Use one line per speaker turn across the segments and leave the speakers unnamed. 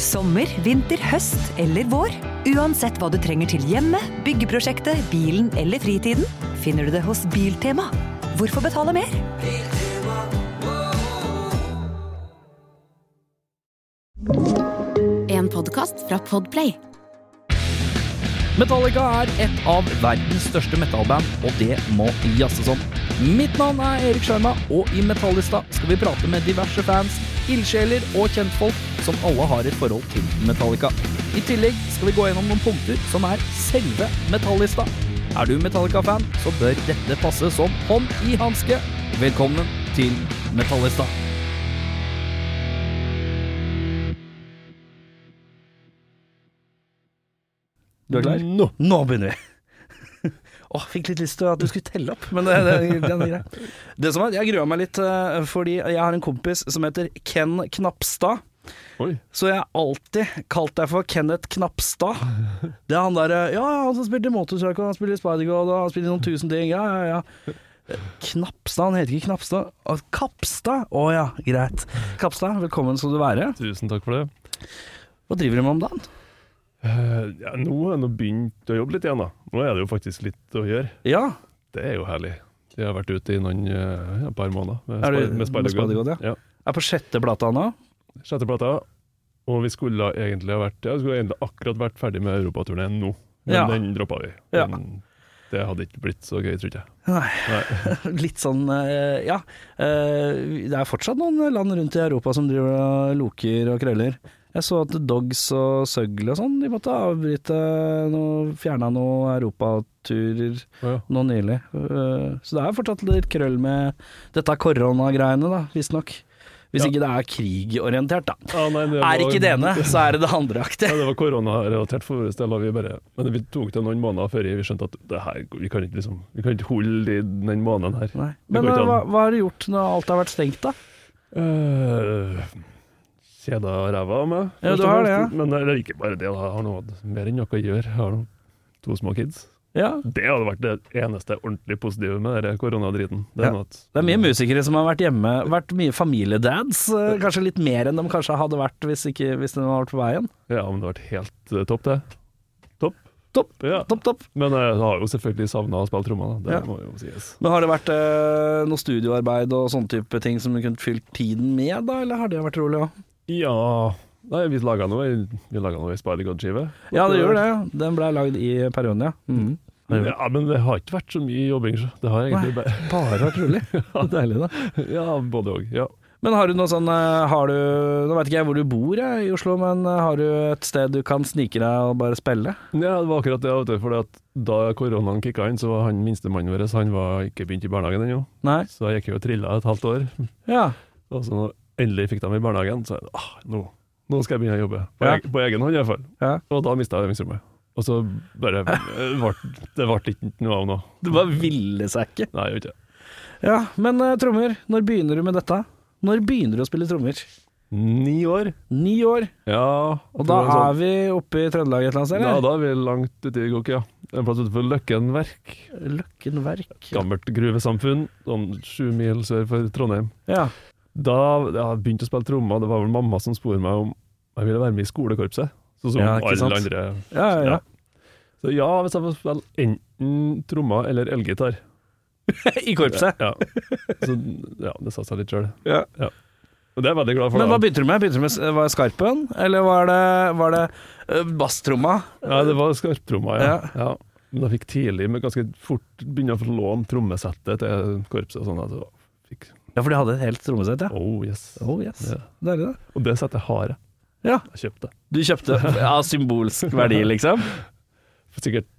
Sommer, vinter, høst eller vår. Uansett hva du trenger til hjemmet, byggeprosjektet, bilen eller fritiden, finner du det hos Biltema. Hvorfor betale mer?
En podkast fra Podplay.
Metallica er et av verdens største metallband, og det må jazzes om. Mitt navn er Erik Sjarma, og i Metallista skal vi prate med diverse fans, ildsjeler og kjentfolk som alle har et forhold til Metallica. I tillegg skal vi gå gjennom noen punkter som er selve Metallista. Er du Metallica-fan, så bør dette passe som hånd i hanske. Velkommen til Metallista. Du er klar?
Nå.
Nå begynner vi. Åh, fikk litt lyst til at du skulle telle opp, men det, det, den er grei. Det som er, jeg grua meg litt, eh, fordi jeg har en kompis som heter Ken Knapstad.
Oi.
Så jeg har alltid kalt deg for Kenneth Knapstad. Det er han derre Ja, han som spilte Motorcycle, han spiller Spider-God, og han spiller noen tusen ting. Ja, ja, ja. Knapstad, han heter ikke Knapstad. Å, Kapstad? Å ja, greit. Kapstad, velkommen skal du være.
Tusen takk for det.
Hva driver du med om dagen?
Eh, ja, nå har jeg nå begynt å jobbe litt igjen, da. Nå er det jo faktisk litt å gjøre.
Ja,
Det er jo herlig. Jeg har vært ute i noen eh, ja, par måneder med,
Er
spi-
du-
med
med
Spider-God.
Spider-God, er på sjette plata nå.
Sjette plata, og vi skulle ha egentlig ha vært ja, vi skulle egentlig akkurat vært ferdig med europaturneen nå, men
Ja.
den droppa vi.
Ja.
Men Det hadde ikke blitt så gøy, tror jeg.
Nei.
Nei.
Litt sånn, eh, ja. eh, Det er fortsatt noen land rundt i Europa som driver og loker og krøller. Jeg så at Dogs og Søgl og sånn, de måtte avbryte noe, fjerna noen europaturer
Å ja.
nå nylig. Eh, Så det er fortsatt litt krøll med dette er koronagreiene, da, visstnok. Hvis
Ja.
ikke det er krigorientert, da.
Ah, nei, det
Er
var-
ikke det ene, så er det det andreaktige.
Ja, det var koronarelatert for vår del. og Vi bare, men vi tok det noen måneder før vi skjønte at det her, vi, kan ikke liksom, vi kan ikke holde i den måneden her.
Nei.
Det
Men
går
eh,
ikke an.
hva, hva har du gjort når alt har vært stengt, da?
Uh, Kjeda ræva av meg.
Ja,
først
du
og
har
fremst.
det,
Men det er ikke bare det. da. Jeg har noe mer enn noe å gjøre. Jeg har noen, to små kids.
Ja.
Det hadde vært det eneste ordentlig positive med denne koronadriten.
Ja. Det er mye musikere som har vært hjemme, vært mye familiedads. eh, Kanskje litt mer enn de kanskje hadde vært hvis, ikke, hvis de hadde vært på veien.
Ja, men det har vært helt eh, topp, det. Topp.
Topp,
Ja.
topp, topp.
Men eh, jeg har jo selvfølgelig savna å spille trommer, da. Det
Ja.
må jo sies.
Men har det vært eh, noe studioarbeid og sånne type ting som du kunne fylt tiden med, da? Eller har det vært rolig òg?
Ja Nei, vi laga noe, vi laget noe i Spider-God-skive.
Ja, det gjør det. Den blei lagd i perioden, ja. Mhm.
Ja, men det har ikke vært så mye jobbing, så. Det har egentlig bare
Bare vært rolig. Så Deilig, da.
Ja, både òg. Ja.
Men har du noe sånn eh, har du, Nå veit ikke jeg hvor du bor jeg, i Oslo, men eh, har du et sted du kan snike deg og bare spille?
Ja, det var akkurat det. Vet du, fordi at da koronaen kicka inn, så var han minstemannen vår han var ikke begynt i barnehagen ennå.
Nei?
Så jeg gikk jo og trilla et halvt år.
Ja.
Og så når jeg endelig fikk dem i barnehagen, så er det ah, nå, nå skal jeg begynne å jobbe. På,
Ja.
eg, på egen hånd, i hvert fall.
ja.
Og da mista jeg øvingsrommet. Og så bare eh, vart, Det ble ikke noe av nå.
Det bare ville seg ikke.
Nei, jeg gjør ikke det.
Ja, men eh, trommer, når begynner du med dette? Når begynner du å spille trommer?
Ni år.
Ni år,
Ja.
og da er vi oppe i Trøndelag et eller annet sted,
Ja,
eller?
sånn- da er vi langt ute i Gokk, ja. En plass utenfor Løkken verk.
Løkken verk.
Gammelt gruvesamfunn, sånn sju mil sør for Trondheim.
Ja.
Da jeg begynte å spille trommer, det var vel mamma som spurte meg om jeg ville være med i skolekorpset. Sånn som
Ja, ikke
alle
sant?
andre.
Ja, ja, ja.
Så ja, hvis jeg får spille enten trommer eller elgitar.
I korpset.
Ja. Så ja, det sa seg litt sjøl.
Ja.
Og det er jeg veldig glad for.
Men hva
da.
begynte du med? Begynte du med s- Var det skarpen, eller var det, var det eh, basstromma?
Ja, det var skarptrommer, ja.
Ja.
ja. Men jeg fikk tidlig, men ganske fort begynne å få låne trommesettet til korpset og sånn. Altså. Fikk,
Ja, for de hadde et helt trommesett, ja.
oh yes.
Oh yes.
Ja.
Deilig, det.
Og det settet har jeg.
Ja.
Jeg kjøpte det.
Du kjøpte av symbolsk verdi, liksom?
For sikkert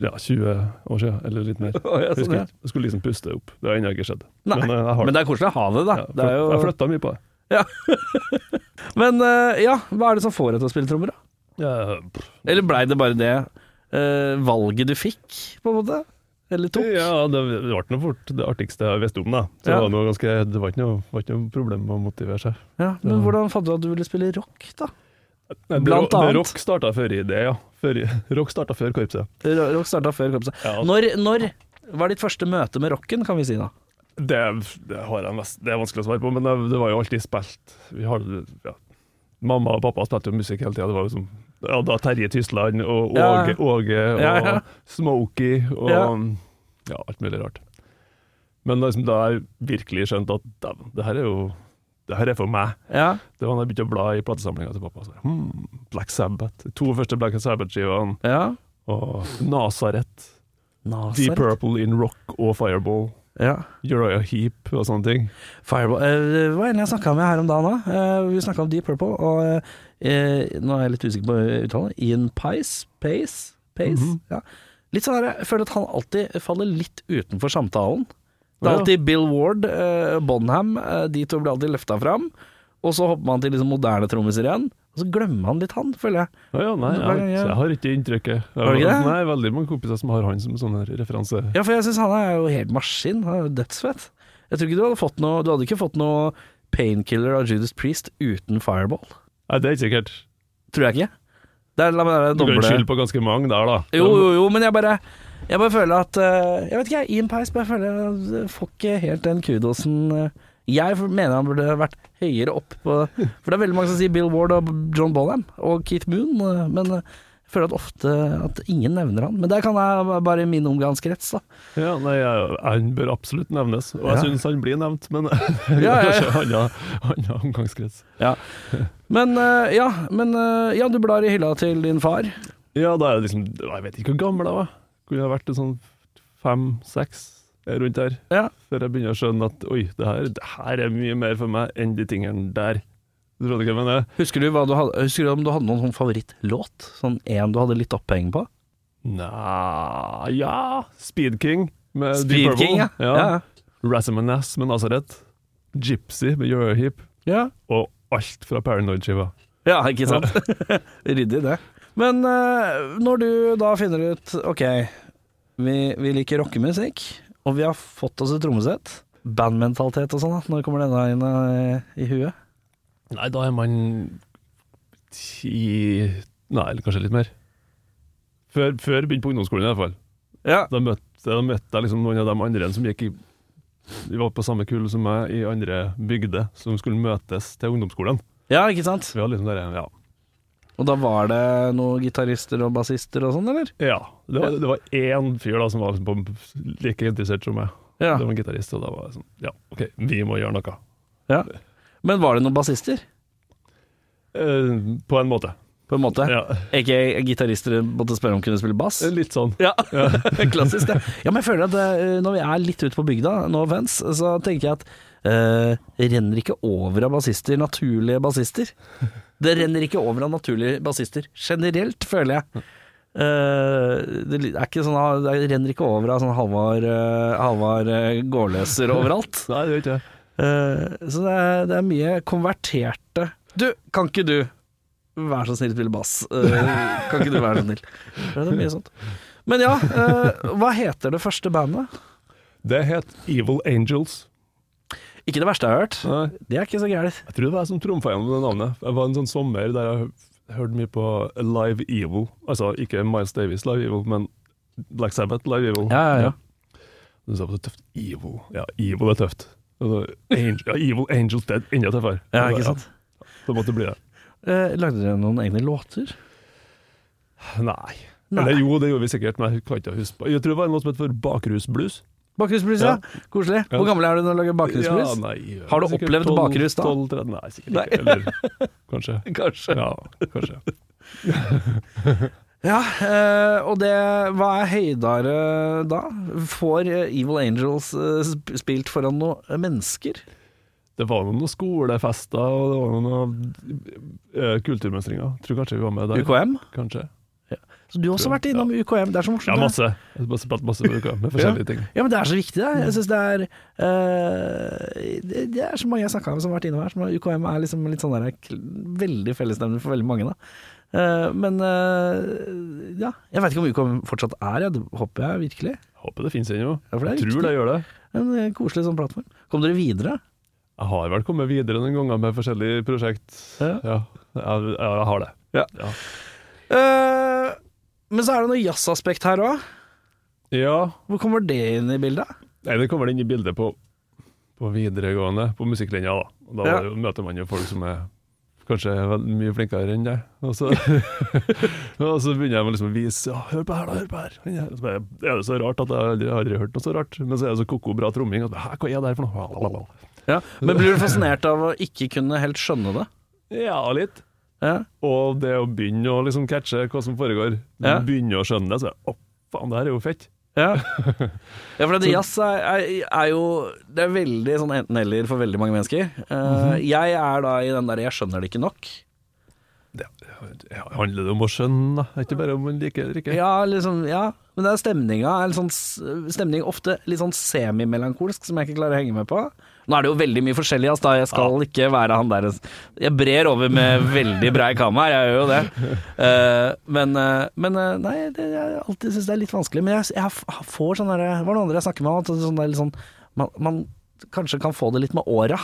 ja, 20 år siden, eller litt mer.
Å, ja, sånn,
Jeg husker
ja.
ikke. Jeg skulle liksom puste opp. Det har ennå ikke skjedd.
Nei,
Men eh, jeg har
Men
det.
det er koselig å ha det, da.
Ja,
Det er
fløt- Jeg
jo...
flytta mye på det.
Men eh, ja, hva er det som får deg til å spille trommer, da?
Ja, pff.
Eller blei det bare det eh, valget du fikk, på en måte? Eller tok?
ja, det ble nå fort det artigste jeg visste om, da. Så
Ja.
det, var noe ganske, det var ikke noe, var ikke noe problem med å motivere seg.
Ja, men hvordan fant du at du ville spille rock, da?
Nei,
Blant
det,
annet.
Rock starta før i det, ja. Før, i- rock starta før korpset.
Ro- Rock starta før korpset.
Ja. altså-
Når, når var ditt første møte med rocken, kan vi si da?
Det, det, har jeg mest, det er vanskelig å svare på, men det, det var jo alltid spilt. Vi har, ja, Mamma og pappa spilte jo musikk hele tida. Det var liksom ja, da Terje Tysland og
Ja.
Åge, Åge og
Ja, ja.
Smokey og ja.
Ja.
alt mulig rart. Men liksom, da har jeg virkelig skjønt at dæven, det her er jo det her er for meg.
Ja.
Det var da jeg begynte å bla i platesamlinga til pappa. Så, jeg, hmm, Black Sabbath. De to første Black Sabbath-skivene.
ja.
Og Nazareth. Deep
Nazareth.
Purple in Rock og Fireball.
Ja.
Uriah Heap og sånne ting.
Fireball. Eh, Det var en jeg snakka med her om dagen òg. Vi snakka om Deep Purple, og eh, nå er jeg litt usikker på uttalen. Ian Pice? Pace? Pace? ja. Litt sånn her, Jeg føler at han alltid faller litt utenfor samtalen. Det er
Ja.
alltid Bill Ward, eh, Bonham, eh, de to blir alltid løfta fram. Og så hopper man til liksom moderne trommiser igjen, og så glemmer han litt han, føler jeg.
Ja, ja, nei,
Men hver
jeg,
gang jeg-
så jeg har ikke inntrykket. Jeg,
Har du ikke det?
Nei, veldig mange kompiser som har han som sånn her referanse.
Ja, for jeg syns han er jo helt maskin. Han er jo dødsfett. Jeg tror ikke du hadde fått noe Du hadde ikke fått noe painkiller av Judas Priest uten Fireball.
Nei, det er ikke sikkert.
Tror jeg ikke. Det er, la meg være
Du kan
doble
skylde på ganske mange der, da.
Jo, jo, jo, men jeg bare Jeg bare føler at eh, Jeg vet ikke, jeg. Ian Pace, bare føler jeg får ikke helt den kudosen eh. Jeg mener han burde vært høyere opp på For det er veldig mange som sier Bill Ward og John Bonham og Keith Moon, eh, men eh, jeg føler at ofte at ingen nevner han. Men der kan jeg bare i min omgangskrets, da.
Ja, nei, jeg, han bør absolutt nevnes. Og
Ja.
jeg synes syns han blir nevnt, men
ja, ja.
kanskje han har han har omgangskrets.
Men eh, ja, men eh, ja, du blar i hylla til din far.
Ja, da er det liksom Jeg vet ikke hvor gammel jeg var. Kunne jeg vært en sånn fem-seks rundt der.
Ja.
Før jeg begynner å skjønne at oi, det her, det her er mye mer for meg enn de tingene der. Du skjønner hva jeg mener?
Husker du, hva du hadde, husker du om du hadde noen sånn favorittlåt? Sånn en du hadde litt oppheng på?
Nja Ja, Speed King med Eh, Deep
Speed
Purple.
King, ja.
ja. Razzamanas med Nazareth. Gypsy med Eurohip.
ja.
Og alt fra Paranoid-skiva.
Ja, ikke sant? Ryddig det. Men eh, når du da finner ut Ok, vi, vi liker rockemusikk, og vi har fått oss et trommesett. Bandmentalitet og sånn, da. Når kommer denne inn eh, i huet?
Nei, da er man ti Nei, eller kanskje litt mer. Før, før begynte på ungdomsskolen, i hvert fall.
Ja.
Da møtte, da møtte jeg liksom noen av de andre som gikk i de var på samme kull som meg i andre bygder, som skulle møtes til ungdomsskolen.
ja, ikke sant?
Så vi hadde liksom der, ja.
Og da var det noen gitarister og bassister og sånn, eller?
ja. Det var- det var én fyr da som var liksom på, like interessert som meg.
Ja.
Det var en gitarist, og da var jeg sånn Ja, OK, vi må gjøre noe.
ja. Men var det noen bassister,
Eh, på en måte.
på en måte?
Ja.
Ikke gitarister måtte spørre om kunne spille bass?
Litt sånn.
Ja, klassisk det. Ja, men jeg føler at eh, når vi er litt ute på bygda, no offense, så tenker jeg at eh, det renner ikke over av bassister, naturlige bassister. Det renner ikke over av naturlige bassister generelt, føler jeg. Eh, det er ikke sånn, det renner ikke over av sånn Halvard uh, Gårdløser overalt.
Nei, det gjør ikke jeg.
Eh, så det er, det er mye konverterte Du, kan ikke du Vær så snill spille bass Eh, Kan ikke du være så snill Det er mye sånt Men ja, eh, hva heter det første bandet?
Det het Evil Angels.
Ikke det verste jeg har hørt
Nei,
Det er ikke så gærent
jeg tror det var jeg som trumfa gjennom det navnet. Jeg var en sånn sommer der jeg hørte mye på Live Evil. Altså ikke Miles Davis Live Evil, men Black Sabbath Live Evil. Du sa på det tøft. Evil. Ja, evil er tøft. Altså, Angel, ja, evil Angels, det er enda tøffere. Altså,
Ja, ikke sant
Da måtte det bli det.
Eh, Lagde dere noen egne låter?
Nei. Eller jo, det gjorde vi sikkert, men jeg kan ikke huske på. Jeg tror det var noe som het for bakrusblues.
Bakrusblues, ja. Koselig Hvor gammel er du når du lager bakrusblues?
Ja, nei,
Har du
sikkert
opplevd
12,
bakrus da?
12, 13, nei, sikkert
Nei.
ikke. Eller, kanskje.
Kanskje
Ja, kanskje.
Ja, eh, og det Hva er høydere da? Får eh, Evil Angels eh, sp- spilt foran noen mennesker?
Det var noen skolefester og det var noen eh, kulturmønstringer. Tror kanskje vi var med der.
UKM?
Kanskje.
Så du har også vært innom UKM, det er så morsomt.
Ja,
det.
masse. Jeg har spilt masse på uka med forskjellige ting.
ja, Mm. men det er så viktig, det. Jeg synes det er eh, det, det er så mange jeg snakka med som har vært innom her. Som er, UKM er liksom litt sånn der kl- veldig fellesnevner for veldig mange, da. Eh, men eh, ja. Jeg veit ikke om UKM fortsatt er, ja. det håper jeg virkelig.
Håper det fins ennå.
Ja, for det er
Jeg tror det
viktig.
gjør det.
En eh, koselig sånn plattform. Kom dere videre?
Jeg har vel kommet videre noen ganger med forskjellige prosjekt. Ja,
Ja.
jeg, ja, jeg har det.
Ja.
Ja.
Eh, men så er det noe jazzaspekt her òg.
ja.
Hvor kommer det inn i bildet?
Nei, det kommer inn i bildet på, på videregående, på musikklinja, da. Og da
Ja.
var det jo- møter man jo folk som er Kanskje jeg er vel- mye flinkere enn deg. Og så, og så begynner jeg med liksom å vise ja, 'Hør på her, da! Hør på her!' Han er- så bare, er det så rart at jeg aldri, jeg har aldri hørt noe så rart. Men så er det så koko bra tromming. At, Hæ, hva er det her for noe?
Ja. Men blir du fascinert av å ikke kunne helt skjønne det?
Ja, litt.
Ja.
Og det å begynne å liksom catche hva som foregår,
Ja.
begynne å skjønne det, så er det, å faen, det her er jo fett.
Ja, ja for det, jazz er, er, er jo Det er veldig sånn enten-eller for veldig mange mennesker. Eh, Jeg er da i den der 'jeg skjønner det ikke nok'.
Det det handler det om å skjønne, da. Ikke bare om man liker eller ikke.
Ja, liksom, ja. Men det er stemninga. Er litt sånn, s- stemning ofte litt sånn semimelankolsk, som jeg ikke klarer å henge med på. Nå er det jo veldig mye forskjellig, ass, da. Jeg skal ikke være han der Jeg brer over med veldig brei kamme, her, jeg gjør jo det. Eh, men, eh, men eh, nei, det, jeg alltid syns det er litt vanskelig. Men jeg, jeg f- får sånn derre Hva er det andre jeg snakker med om? At det er Sånn, der litt sånn, man, man kanskje kan få det litt med åra.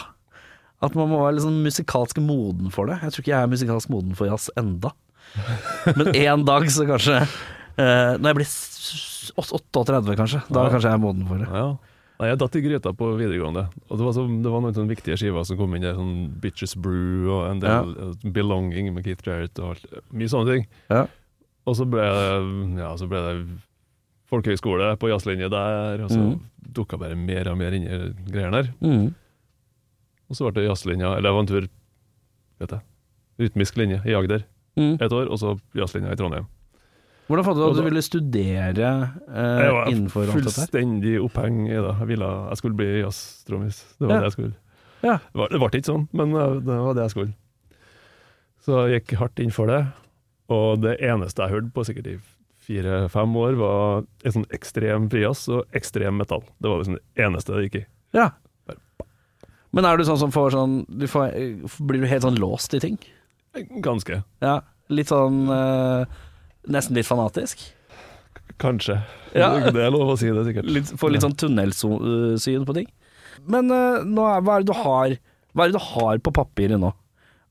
At man må være litt sånn musikalsk moden for det. Jeg tror ikke jeg er musikalsk moden for jazz enda. Men en dag så kanskje eh, Når jeg blir s- åt- 38 kanskje Da
Ja.
kanskje jeg er moden for det
Ja. Nei, jeg datt i gryta på videregående. Og det var, så, det var noen sånne viktige skiver som kom inn der, sånn Bitches Brew og en del eh, Belonging med Keith Jarrett og alt. Mye sånne ting.
Ja.
Og så ble, det- ja, så ble det folkehøyskole på jazzlinje der, og så
Mhm.
dukka bare mer og mer inn i greiene der.
Mm.
Og så ble det jazzlinja, eller jeg var en tur, vet jeg, rytmisk linje i Agder et år, og så jazzlinja i Trondheim.
Mm. Hvordan fant du at
Og
du
da-
ville studere eh,
Jeg var
innenfor alt dette? her?
fullstendig oppheng i det. Jeg, ville, jeg skulle bli jazztrommis. Det var
Ja.
det jeg skulle.
Ja.
Det, var, det ble ikke sånn, men eh, det var det jeg skulle. Så jeg gikk hardt inn for det. Og det eneste jeg hørte på sikkert i fire-fem år, var en sånn ekstrem frijazz og ekstrem metall. Det var liksom det eneste det gikk i.
Ja Men er du sånn som får sånn du får, eh, Blir du helt sånn låst i ting?
Ganske.
Ja, litt sånn eh, Nesten litt fanatisk
Kanskje.
Ja.
Det er lov å si det, sikkert.
litt, Får litt sånn tunnelsyn på ting Men eh, nå er, hva er det du har Hva er det du har på papiret nå?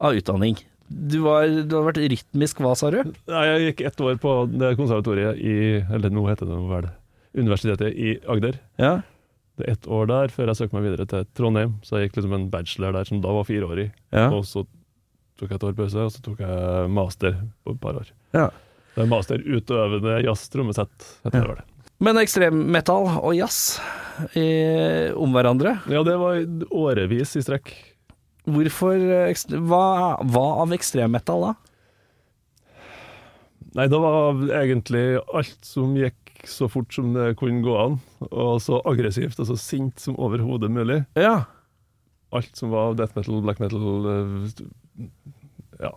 Av utdanning Du, var, du har vært rytmisk, hva sa du?
Nei, jeg gikk ett år på det konservatoriet i Eller nå heter det vel Universitetet i Agder.
Ja
Det er ett år der før jeg søkte meg videre til Trondheim. Så jeg gikk liksom en bachelor der som da var fireårig.
Ja.
Og så tok jeg et år pause, og så tok jeg master på et par år.
Ja.
Det er masterutøvende jazz-trommesett, heter det vel.
Men ekstremmetall og jazz eh, om hverandre.
Ja, det var i årevis i strekk.
Hvorfor eh, ekst- hva, hva av ekstremmetall da?
Nei, det var egentlig alt som gikk så fort som det kunne gå an, og så aggressivt og så sint som overhodet mulig.
Ja.
Alt som var death metal, black metal eh, Ja.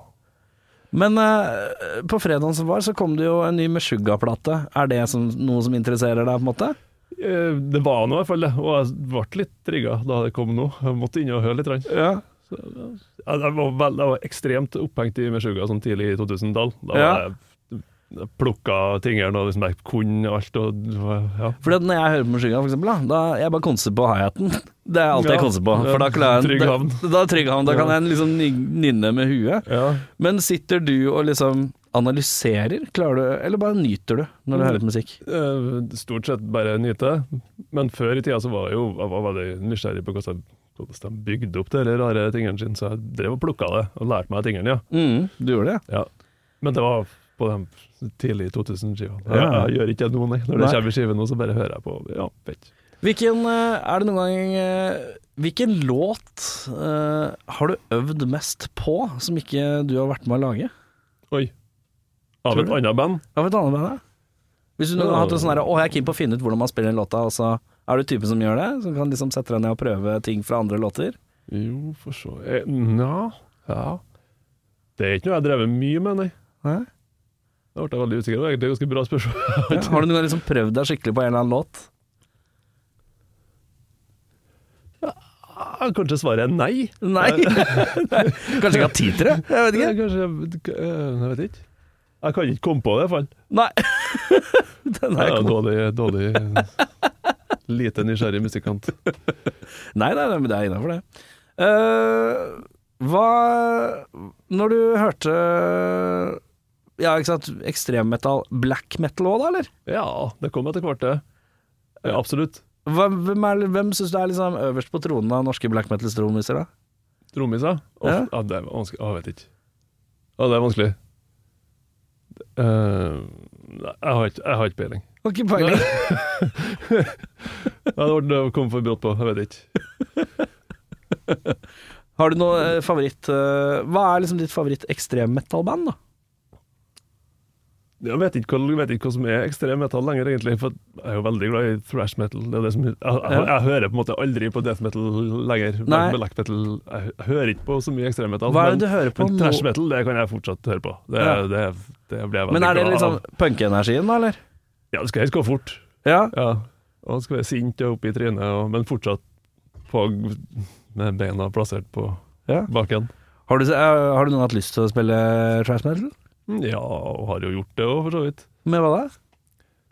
Men eh, på fredagen som var, så kom det jo en ny Meshuggah-plate. Er det som, noe som interesserer deg, på en måte?
Eh, Det var nå i hvert fall det, og jeg ble litt trigga da det kom nå. Jeg måtte inn og høre litt. grann.
Ja.
Ja, Jeg var, vel- jeg var ekstremt opphengt i Meshuggah sånn tidlig i 2000-tall. Da var
Ja.
jeg jeg plukka tingene og liksom jeg kunne alt og ja.
Fordi at når jeg hører på Meshuggah, for eksempel, da, da jeg bare konser på hi-haten. Det er alt
Ja.
jeg konser på. For da klarer jeg
Trygg
da-
havn.
Da, er trygg havn. Da kan
Ja.
jeg liksom ny- nynne med huet.
ja.
Men sitter du og liksom analyserer? Klarer du, eller bare nyter du når du hører på musikk?
Eh, Stort sett bare nyte. Men før i tida så var jeg jo jeg var veldig nysgjerrig på hvordan hvordan de bygde opp de her rare tingene sine, så jeg drev og plukka det og lærte meg tingene, ja.
Mm, du gjør det, ja.
ja. Men det var på de tidlige 2000-skivene. Jeg,
Ja.
jeg gjør ikke det nå, nei. Når det
Nei.
kommer i skive nå, så bare hører jeg på. Ja, fett.
Hvilken eh, Er det noen gang eh, Hvilken låt eh, har du øvd mest på, som ikke du har vært med å lage?
Oi. Av
Tror
et
du?
annet band?
Av et annet band, da? Hvis du noen gang har hatt en sånn herre Å, jeg er keen på å finne ut hvordan man spiller den låta, og så er du typen som gjør det? Som kan liksom sette deg ned og prøve ting fra andre låter?
Jo, for så eh, Nja. Ja. Det er ikke noe jeg har drevet mye med, nei.
Hæ?
Da ble jeg veldig usikker. Det var egentlig et ganske bra spørsmål.
Ja, har du noen gang liksom prøvd deg skikkelig på en eller annen låt?
Ah, Kanskje svaret er nei?
Nei? Kanskje ikke hatt tid til det? Jeg vet
Jeg,
ikke.
kanskje, eh, jeg vet ikke. Jeg kan ikke komme på det, i hvert fall.
Nei. Den
Jeg
er
er
god.
dårlig, dårlig Lite nysgjerrig musikant.
Nei, nei, nei, men det er innafor, det. Eh, hva Når du hørte Ja, ikke sant, ekstremmetall Black metal òg, da, eller?
Ja, det kom etter hvert, det. Ja, absolutt.
Hvem, hvem, er- hvem syns du er liksom øverst på tronen av norske black metal-trommiser, da?
Trommiser? Å,
Ja.
ja, ah, det er vanskelig. Å, jeg vet ikke. Ja, det er vanskelig. Eh, nei, jeg, har ikke, jeg har ikke peiling.
Har ikke peiling.
Ja, det var- det kom for brått på. Jeg vet ikke.
Har du noe eh, favoritt eh, Hva er liksom ditt favoritt ekstremmetallband, da?
Jeg vet ikke, hva, jeg vet ikke hva som er ekstrem metal lenger, egentlig. For jeg er jo veldig glad i thrash metal. Det er det som, jeg, jeg, jeg hører på en måte aldri på death metal lenger.
Nei.
Nei. Black metal, jeg, jeg hører ikke på så mye ekstrem metal.
Hva er det du hører på
men
nå?
thrash metal det kan jeg fortsatt høre på. Det,
Ja.
det, det blir jeg veldig glad av.
Men er det liksom punkenergien, da, eller?
Ja, det skal helst gå fort.
Ja.
Ja, og han skal være sint og oppe i trynet, og, men fortsatt på, med beina plassert på
Ja.
baken.
Har, du, eh, har du noen hatt lyst til å spille trash metal?
Mm, Ja, og har jo gjort det òg, for så vidt.
Med hva da?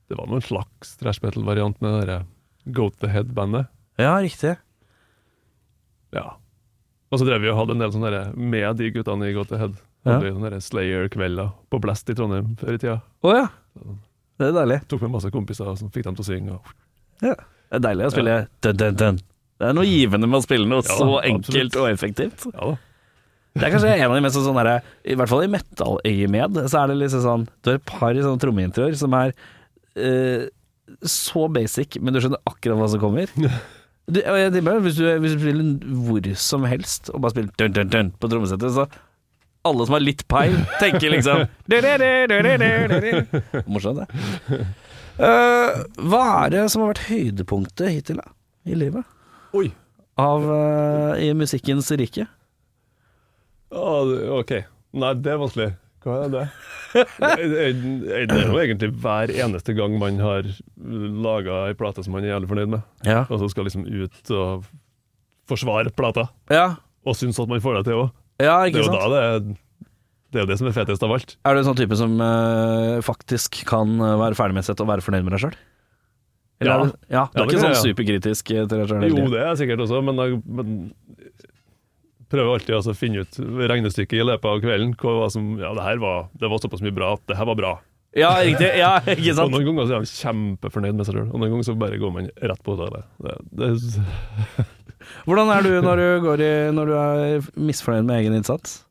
Det var noen slags thrash metal-variant med det der Goat the Head-bandet.
Ja, riktig.
Ja. Og så drev vi og hadde en del sånne der, med de guttene i Goat the Head.
Ja.
Hadde vi sånne der Slayer-kvelder på Blast i Trondheim før i tida.
Å ja. Det er deilig.
Tok med masse kompiser som fikk dem til å synge. Og,
Det er deilig å spille dun, dun, dun. Det er noe givende med å spille noe
Ja,
så
absolutt.
enkelt og effektivt.
ja da.
Det er kanskje en av de mest sånn derre I hvert fall i metal-øyemed, så er det liksom sånn Du har et par sånne trommeintroer som er eh, så basic, men du skjønner akkurat hva som kommer. Du, og jeg tipper, hvis, du, hvis du spiller hvor som helst, og bare spiller dun, dun, dun på trommesettet, så alle som har litt peil, tenker liksom du, du, du, du, du, du, du. Morsomt, det. Eh, hva er det som har vært høydepunktet hittil da, i livet?
Oi!
Av, eh, I musikkens rike?
Ja, det- ok. Nei, det er vanskelig. Hva er det? Det er- det er jo egentlig hver eneste gang man har laga ei plate som man er jævlig fornøyd med,
Ja.
og så skal liksom ut og forsvare plata,
ja.
og synes at man får det til òg.
Ja,
Det er
ikke
jo
sant?
da det er det er jo det som er fetest av alt.
Er du en sånn type som eh, faktisk kan eh, være ferdig med et sett og være fornøyd med deg sjøl? Er
Ja.
du, ja, du
Ja,
er
det
ikke
kan
sånn
jeg,
superkritisk eh, til deg sjøl?
Jo, det er jeg sikkert også, men jeg men prøver alltid altså å finne ut regnestykket i løpet av kvelden. Hva som, ja, det her var, det var såpass mye bra at det her var bra.
Ja, riktig. Ja, ikke
Og
sant?
noen ganger så er han kjempefornøyd med seg sjøl, og noen ganger så bare går man rett på hotellet. Det, det,
Hvordan er du når du, går i, når du er misfornøyd med egen innsats?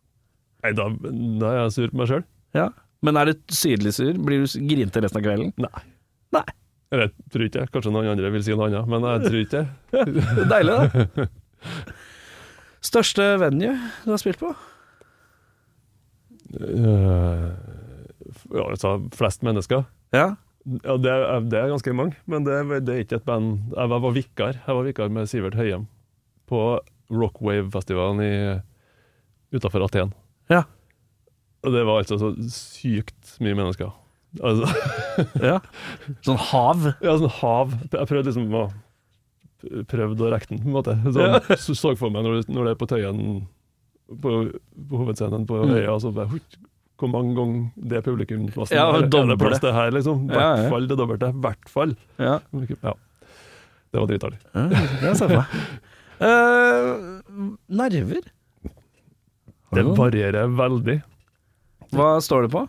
nei, da, da er jeg sur på meg sjøl.
Ja. Men er du sydlig sur? Blir du s- grinete resten av kvelden?
Nei.
Nei.
Eller jeg tror ikke det. Kanskje noen andre vil si noe annet, men jeg tror ikke det.
Det er deilig, det. Største venue du har spilt på?
Øh, Eh, ja, altså, flest mennesker.
Ja.
Ja, det, er, det er ganske mange, men det, er- det er ikke et band Jeg var, var vikar Jeg var vikar med Sivert Høyem på Rockwave-festivalen utafor Aten.
Ja.
Og det var altså så sykt mye mennesker. Altså
ja. Sånn hav?
Ja, sånn hav. Jeg prøvde liksom å Prøvde å rekke den, på en måte. Sånn, så så for meg når, du- når det er på Tøyen, på, på hovedscenen på
Mm.
Øya, så bare husk, Hvor mange ganger det publikum var sånn,
Ja,
er, er
doble.
det plass til her, liksom? I
Ja, ja.
hvert fall det dobbelte. I hvert fall.
Ja.
Ja. Det var dritartig.
Ja, det ser jeg for meg. Eh, nerver? Har du
Det
noen?
varierer veldig.
Hva står det på?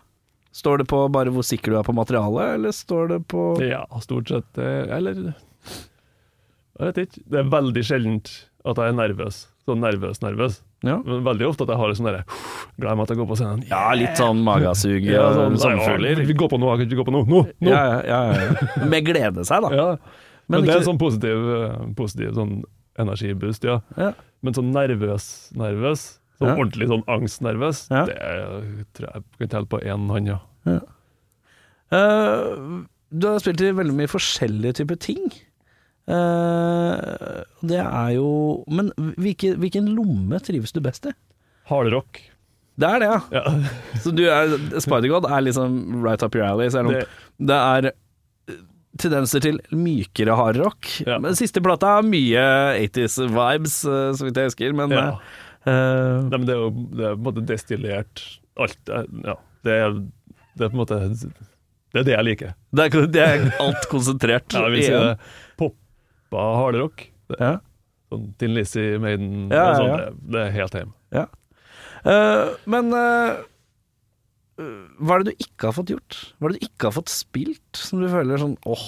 Står det på bare hvor sikker du er på materialet, eller står det på
Ja, stort sett. eh, Eller Jeg vet ikke. Det er veldig sjeldent at jeg er nervøs. Sånn nervøs, nervøs.
Ja,
Men veldig ofte at jeg har en sånn derre Gleder meg til å gå på scenen.
ja litt sånn magesug
Ja,
og
sånn,
sommerfugler.
«Nei, Vi går på nå, vi går på nå, nå, nå.
Ja, ja, ja, ja. Med glede seg, da.
Ja. Men,
Men
det er
ikke-
en sånn positiv, eh, positiv sånn energiboost, ja.
Ja.
Men sånn nervøs, nervøs, sånn
Ja.
ordentlig sånn angstnervøs,
Ja.
det er- tror jeg kan telle på én hånd, ja.
Eh, du har spilt i veldig mye forskjellige typer ting. Eh, det er jo Men hvilke, hvilken lomme trives du best i?
Hardrock.
Det er det, ja.
Ja.
Så du er Spider-God er liksom right up your alley, selv om det,
Det-
er eh, tendenser til mykere hardrock.
Ja.
Men siste plata er mye 80s vibes, eh, så vidt jeg husker, men
ja.
eh, eh,
Nei, men det er jo det er på en måte destillert alt er- Ja. Det er, det er på en måte Det er det jeg liker.
det, er, det er alt konsentrert.
Jeg vil si
igjen.
det. Poppa hardrock. Det-
Ja.
Sånn Tin Lizzie, Maiden
Ja,
og sånn,
ja, ja.
Det, det er helt hjem.
Eh, men eh, hva er det du ikke har fått gjort? Hva er det du ikke har fått spilt, som du føler sånn åh,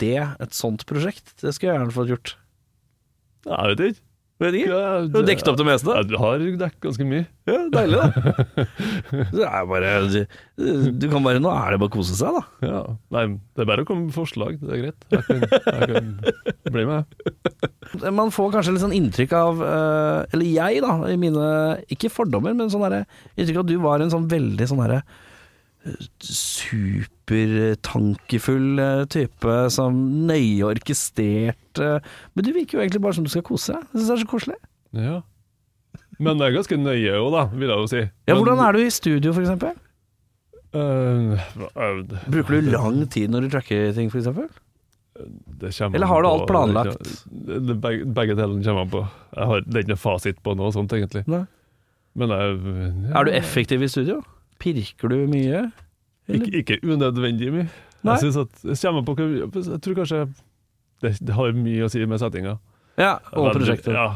det, et sånt prosjekt, det skulle jeg gjerne fått gjort.
Jeg vet ikke.
Vet ikke.
Ja,
Du har dekket opp det meste.
Ja, du har dekket ganske mye.
Ja, deilig, da. Så det er bare du, du kan bare Nå er det bare å kose seg, da.
Ja. Nei, det er bare å komme med forslag, det er greit. Jeg kan, jeg kan bli med.
Man får kanskje litt sånn inntrykk av eh, Eller jeg, da, i mine Ikke fordommer, men sånn derre Inntrykk av at du var en sånn veldig sånn derre eh, Supertankefull eh, type som nøye orkestrert eh, Men du virker jo egentlig bare som du skal kose deg. Jeg syns det er så koselig.
Ja. Men det er ganske nøye òg, da, vil jeg jo si.
Ja, Hvordan er du i studio, for eksempel?
eh,
Bruker du lang tid når du tracker ting, for eksempel?
Det kommer
Eller har du
an
alt
på-
planlagt?
Det, det, begge, begge delene kommer an på. Jeg har, det er ikke noe fasit på noe sånt, egentlig.
Nei.
Men jeg, ja,
Er du effektiv i studio? Pirker du mye?
ikke, ikke unødvendig mye.
Nei.
Jeg, synes at, jeg, kommer på, hva- jeg tror kanskje det, det har mye å si med settinga.
Ja, og
Men-
prosjekter.
Ja.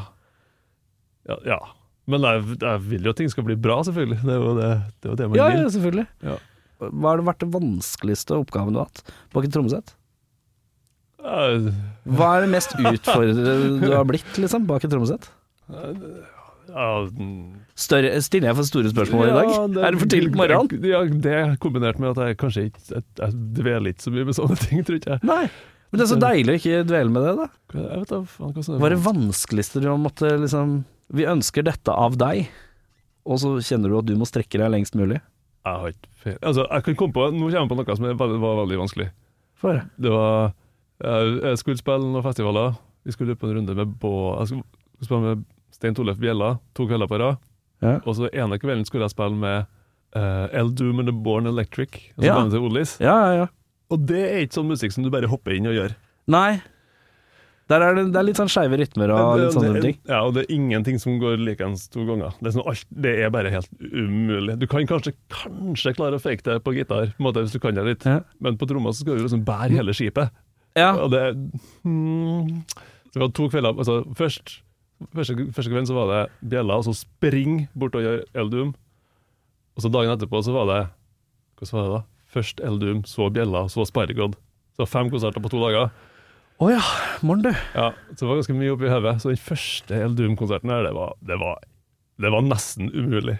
ja, ja. Men jeg, jeg vil jo at ting skal bli bra, selvfølgelig. Det er jo det, det, er jo det man
Ja,
vil.
ja, selvfølgelig.
Ja.
Hva har det vært den vanskeligste oppgaven du har hatt bak et trommesett?
Jeg,
Hva er det mest utfordrende du har blitt liksom, bak et trommesett?
jeg,
Større, stiller jeg for store spørsmål i dag?
Ja,
er det for tidlig på morgenen?
Ja, det kombinert med at jeg kanskje ikke jeg, jeg dveler ikke så mye med sånne ting, tror ikke jeg.
Nei. Men det er så deilig å ikke dvele med det, da.
Jeg vet da faen hva som
Hva er det vanskeligste du har måttet liksom Vi ønsker dette av deg, og så kjenner du at du må strekke deg lengst mulig.
Jeg har ikke fe- Altså, jeg kan komme på Nå kommer jeg på noe som er veldig, var veldig vanskelig.
Få høre.
Det var Jeg, jeg skulle spille noen festivaler. Vi skulle på en runde med Bå... Jeg skulle spille med Stein Tollef Bjella to kvelder på rad.
Ja.
Og så ene kvelden skulle jeg spille med eh, El Doom and The Born Electric, altså
Ja.
bandet til Ollis.
Ja, ja, ja.
Og det er ikke sånn musikk som du bare hopper inn og gjør.
Nei. Der er det, det er litt sånn skeive rytmer og
Men
litt sånne
det,
ting.
Ja, og det er ingenting som går likens to ganger. Det er, sånn, alt, det er bare helt umulig. Du kan kanskje, kanskje klare å fake det på gitar, på en måte, hvis du kan det litt,
Ja.
men på tromma så skal du liksom bære hele skipet.
Ja.
Og det, mm, det var to kvelder altså, først, første, første kvelden så var det bjella, og så spring bort og gjør Eldum. Og så dagen etterpå så var det Hvordan var det da? Først Eldum, så bjella, så Spargod. Så fem konserter på to dager.
Å ja. Morn, du.
Ja, så det var ganske mye oppi hodet. Så den første El Doom-konserten her, det var, det, var, det var nesten umulig.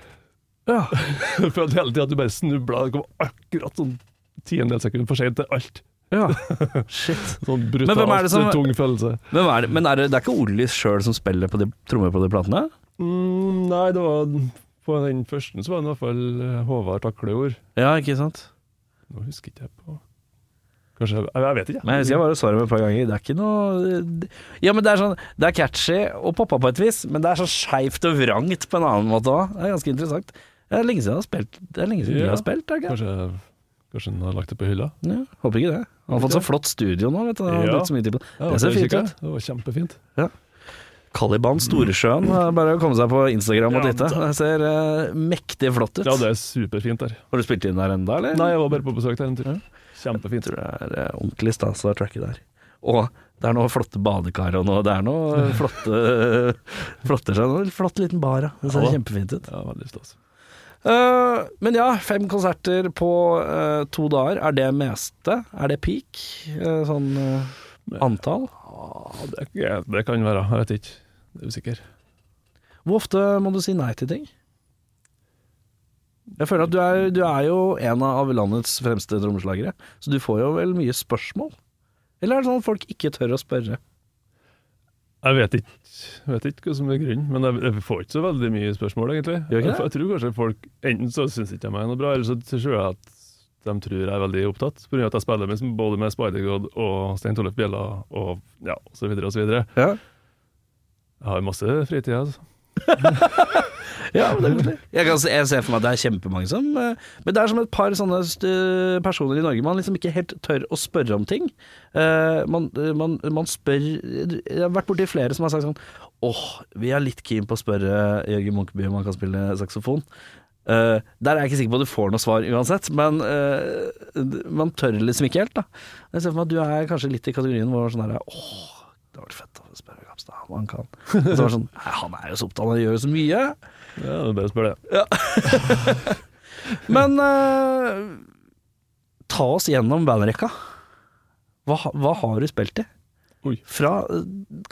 Ja.
Jeg følte hele tiden at du bare snubla. Det kom akkurat sånn tiendedels sekund for sent til alt.
ja. Shit.
Sånn
Men hvem er
brutalt
det som-
tung følelse.
Men, hva er det, men er det, det er ikke Ollis sjøl som spiller på de, trommer på de platene?
Mm, nei, det var på den første så var det i hvert fall eh, Håvard Taklejord.
Ja, ikke sant?
Nå husker ikke jeg på Kanskje Jeg, jeg vet ikke.
Men jeg husker jeg bare så dem et par ganger. Det er ikke noe Ja, men det er sånn Det er catchy og poppa på et vis, men det er så skeivt og vrangt på en annen måte òg. Det er ganske interessant. Det er lenge siden jeg har spilt. Det er lenge siden
Ja.
vi har spilt, er det ikke?
Kanskje, kanskje han har lagt det på hylla?
Ja, håper ikke det. Han har fått så flott studio nå, vet du. Han har
Ja.
brukt så mye tid på det.
Ja,
Det ser
jeg
fint
kikker.
ut.
Det var kjempefint.
Caliban Storesjøen. det er Bare å komme seg på Instagram og
Ja,
titte. Det ser eh, mektig flott ut.
Ja, det er superfint der.
Har du spilt inn der ennå, eller?
Nei, jeg var bare på besøk der en tur.
Jeg
Kjempefint.
tror det er eh, ordentlig stas å tracke der. Og det er noen flotte badekar og noe, det er noe flotte Flotter seg noe. Flott liten bar, ja. Det ser
Ja da.
kjempefint ut.
Ja, veldig stas.
Eh, men ja, fem konserter på eh, to dager. Er det meste? Er det peak? Eh, sånn eh, antall?
Ja, det, ja, det kan være. Jeg vet ikke. Jeg er usikker.
Hvor ofte må du si nei til ting? Jeg føler at du er, du er jo en av landets fremste trommeslagere, så du får jo vel mye spørsmål? Eller er det sånn at folk ikke tør å spørre?
Jeg vet ikke, jeg vet ikke hva som er grunnen, men jeg, jeg får ikke så veldig mye spørsmål, egentlig.
Gjør ikke
Jeg,
det?
jeg tror kanskje folk Enten så syns ikke jeg meg er noe bra, eller så tror jeg at de tror jeg er veldig opptatt, pga. at jeg spiller med, både med Spider-God og Stein Tollef Bjella og ja, og så videre og så videre.
Ja.
Jeg har masse fritid, altså.
Ja, men det er koselig. Jeg, kan, se- jeg ser for meg at det er kjempemange som eh, Men det er som et par sånne st- eh, personer i Norge man liksom ikke helt tør å spørre om ting. Eh, man, eh, man, man spør Jeg har vært borti flere som har sagt sånn Åh, vi er litt keen på å spørre Jørgen Munkeby om han kan spille saksofon. Eh, der er jeg ikke sikker på at du får noe svar uansett, men eh, d- man tør liksom ikke helt, da. Jeg ser for meg at du er kanskje litt i kategorien hvor sånn her Åh, det hadde vært fett å spørre Kapstad om han kan. Og så var det sånn Nei, han er jo så opptatt, han gjør jo så mye.
Ja, det er bare å spørre det.
Men eh, ta oss gjennom bandrekka. Hva, hva har du spilt i?
Oi.
Fra eh,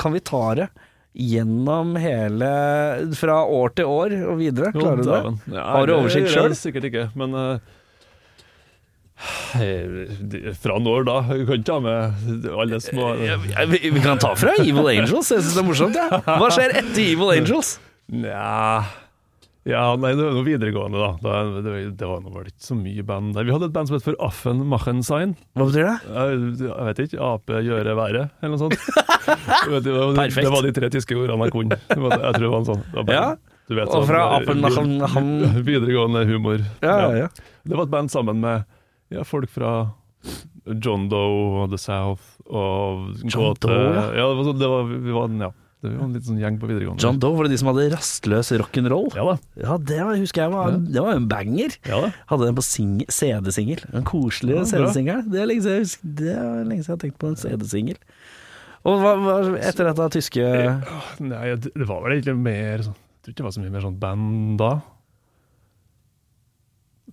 Kan vi ta det gjennom hele Fra år til år og videre?
Jo,
Klarer du det?
dæven. Ja,
Har du oversikt
det gjør jeg
selv?
Sikkert ikke, men eh, eh, de- Fra når da? Jeg kan ikke ta med alle små
Eh, Ja, vi, vi kan ta fra Evil Angels, jeg syns det er morsomt. Ja. Hva skjer etter Evil Angels?
Nja ja, nei, det var noe videregående, da. da det, var- det var nå vel ikke så mye band der. Vi hadde et band som het for Affen Machensein.
Hva betyr det?
Jeg, jeg vet ikke. Ape gjøre været, eller noe sånt. Jeg vet ikke, det, var,
Perfekt.
det var de tre tyske ordene jeg kunne. Det var- Jeg tror det var en sånn. det var bare-
Ja,
du vet,
Og fra
sånn,
apen han, han
Videregående humor.
ja, ja, ja.
Det var et band sammen med ja, folk fra John Doe og The South og
John
Gåte.
Doe, ja.
ja. det var sånn, det var, vi, var, en- ja, det var en litt sånn gjeng på videregående.
John Doe var det de som hadde rastløs rock'n'roll.
Ja da.
Ja, det var, husker jeg var,
Ja.
det var jo en banger.
Ja da.
Hadde den på sing- CD-singel. Den koselige
Ja, bra.
CD-singelen. Det er lenge siden jeg husker- det er lenge siden jeg har tenkt på en CD-singel. Og hva, hva, etter dette tyske
Nei, det det var vel egentlig mer sånn Jeg tror ikke det var så mye mer sånn band da.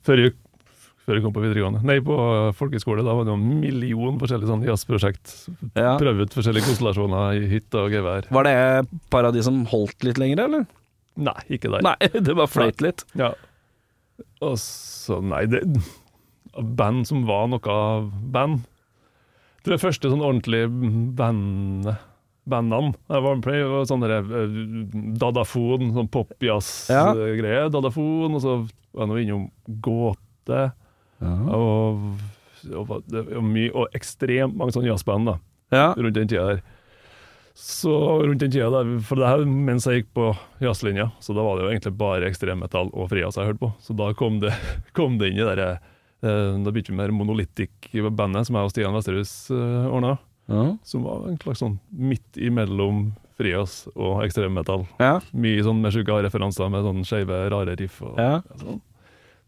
Før jeg, før jeg kom på videregående. Nei, på øh, folkehøyskole. Da var det jo en million forskjellige sånn jazzprosjekt.
ja.
Prøve ut forskjellige konstellasjoner i hytte og gevær.
Var det par av de som holdt litt lenger, eller?
Nei, ikke der.
Nei, det bare fløyt litt.
Ja. Og så, nei, det Band som var noe av band. Jeg tror det første sånn ordentlige bandet Bandene. Jeg var med på det, var sånn derre eh, Dadafon, sånn
Ja.
popjazz-greie. Dadafon, og så var jeg nå innom Gåte. Og, og, hva- det var mye, og ekstremt mange sånne jazzband, da
Ja.
rundt den tida der. Så rundt den tida der, For det her mens jeg gikk på jazzlinja, så da var det jo egentlig bare ekstremmetall og frijazz jeg hørte på. Så da kom det, kom det inn i det derre eh, Da begynte vi med det Monolithic-bandet, som jeg og Stian Vesterhus uh, ordna.
Ja.
Som var en slags sånn midt imellom frijazz og ekstremmetall.
Ja.
Mye sånn med sjuke referanser med sånn skeive, rare riff. og
Ja.
sånn.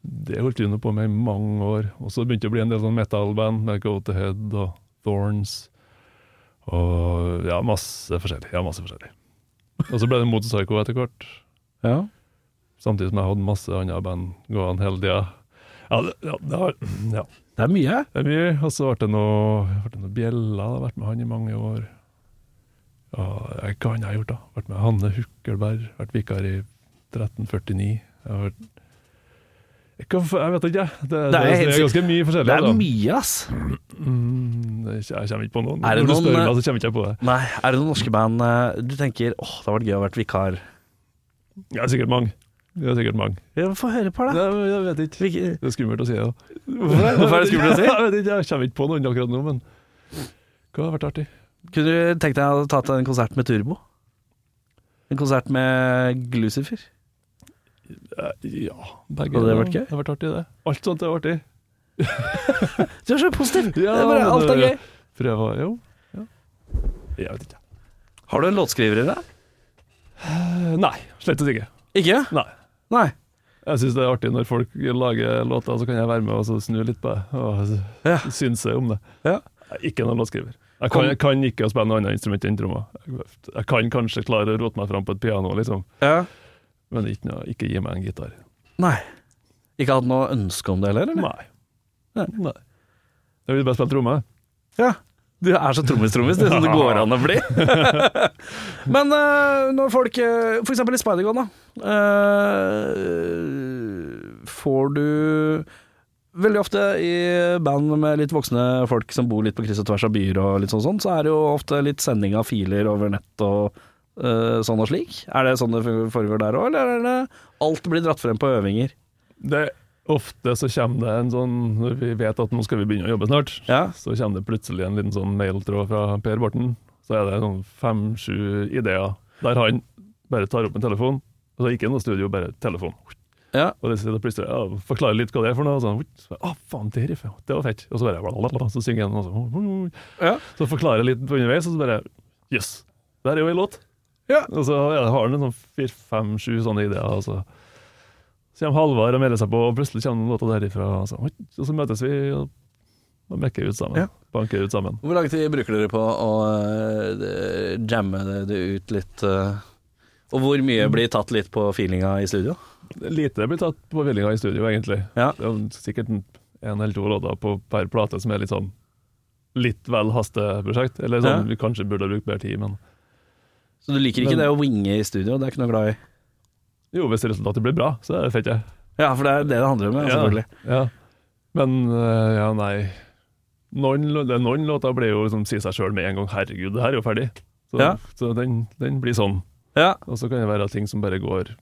Det holdt vi nå på med i mange år. Og så begynte det å bli en del sånn metal-band med Go to Head og Thorns. Og ja, masse forskjellig. Ja, masse forskjellig. Og så ble det Motor Psycho etter hvert.
ja.
Samtidig som jeg hadde masse andre band gående hele tida. Ja, det, ja, det har, ja,
Det er mye.
det er mye. Og så ble det noe, ble det noe bjeller. Jeg har vært med han i mange år. Ja, jeg- hva annet har jeg gjort, da? Vært med Hanne Hukkelberg. Vært vikar i 1349. Jeg har vært jeg, kan, jeg vet ikke, jeg. Det, det, det,
er
er,
helt sikkert-
ganske mye forskjellig.
Det er
altså.
mye, ass.
Mm, det- jeg kommer ikke på noen.
Er det
Når du
noen- eh,
spør meg, så kommer jeg ikke på det.
Nei, er det noen norske band eh, du tenker åh, det hadde vært gøy å vært vikar?
Det er sikkert mange. Det er sikkert mange.
Ja, Få høre et par, da.
Nei, men jeg vet ikke.
Hvilke-
Det er skummelt å si det. da.
Hvorfor er det skummelt å si?
Jeg vet ikke, jeg kommer ikke på noen akkurat nå, men hva har vært artig?
Kunne du tenkt deg å ha tatt en konsert med Turbo? En konsert med Glucifer?
Eh, Ja, begge
Hadde det
deler.
vært gøy?
Det har vært artig, det. Alt sånt er artig.
Du er så positiv!
Ja,
det er bare,
men
alt er gøy.
det- Prøve å Jo. Ja. Jeg vet ikke.
Har du en låtskriver i deg?
Eh, Nei, slett ikke.
Ikke?
Nei.
Nei.
Jeg syns det er artig når folk lager låter, så kan jeg være med og så snu litt på det. Og
Ja.
synse om det.
Ja.
Jeg er ikke noen låtskriver. Jeg kan, jeg kan ikke å spille noe annet instrument enn trommer. Jeg, jeg kan kanskje klare å rote meg fram på et piano, liksom.
Ja.
men ikke, noe, ikke gi meg en gitar.
Nei. Ikke hatt noe ønske om det heller, eller?
Nei. Nei. Jeg vil bare spille trommer.
Ja. Du er så trommis-trommis, det er som det går an å bli. Men eh, når folk eh, For eksempel i Spider-Gon, da. eh, får du Veldig ofte i band med litt voksne folk som bor litt på kryss og tvers av byer og litt sånn, sånn så er det jo ofte litt sending av filer over nett og eh, sånn og slik. Er det sånn det foregår der òg, eller er det alt blir dratt frem på øvinger?
Det, ofte så kommer det en sånn Når vi vet at nå skal vi begynne å jobbe snart,
Ja.
så kommer det plutselig en liten sånn mailtråd fra Per Borten. Så er det sånn fem-sju ideer der han bare tar opp en telefon. Altså ikke noe studio, bare telefon.
Ja.
Og det sitter plutselig ja, forklarer litt hva det er for noe. Og sånn, så, ah, faen, det riffet, det var fett. Og så bare blablabla, så synger han, og så,
Ja.
så forklarer jeg litt på underveis, og så bare Jøss, yes, det her er jo ei låt.
Ja.
Og så ja, har han en sånn fire-fem-sju sånne ideer. og så... Så kommer Halvard og melder seg på, og plutselig kommer noen låter derifra. Og så, oi, og så møtes vi og og mekker ut sammen.
Ja.
Banker ut sammen.
Hvor lang tid bruker dere på å øh, d- jamme det, det ut litt? øh, Og hvor mye blir tatt litt på feelinga i studio?
Lite blir tatt på vellinga i studio, egentlig.
Ja.
Det er jo sikkert en en eller to låter på per plate som er litt sånn litt vel hasteprosjekt. Eller
Ja.
sånn, vi kanskje burde ha brukt bedre tid, men
Så du liker ikke
Men-
det å winge i studio? Det er ikke noe glad i?
Jo, hvis resultatet blir bra, så er det fett, jeg.
Ja, for det er det det handler om, ja, selvfølgelig.
Ja. Men eh, ja, nei. Noen, lå- det, noen låter blir jo liksom si seg sjøl med en gang. 'Herregud, det her er jo ferdig'. Så,
Ja.
så den, den blir sånn.
Ja.
Og så kan det være ting som bare går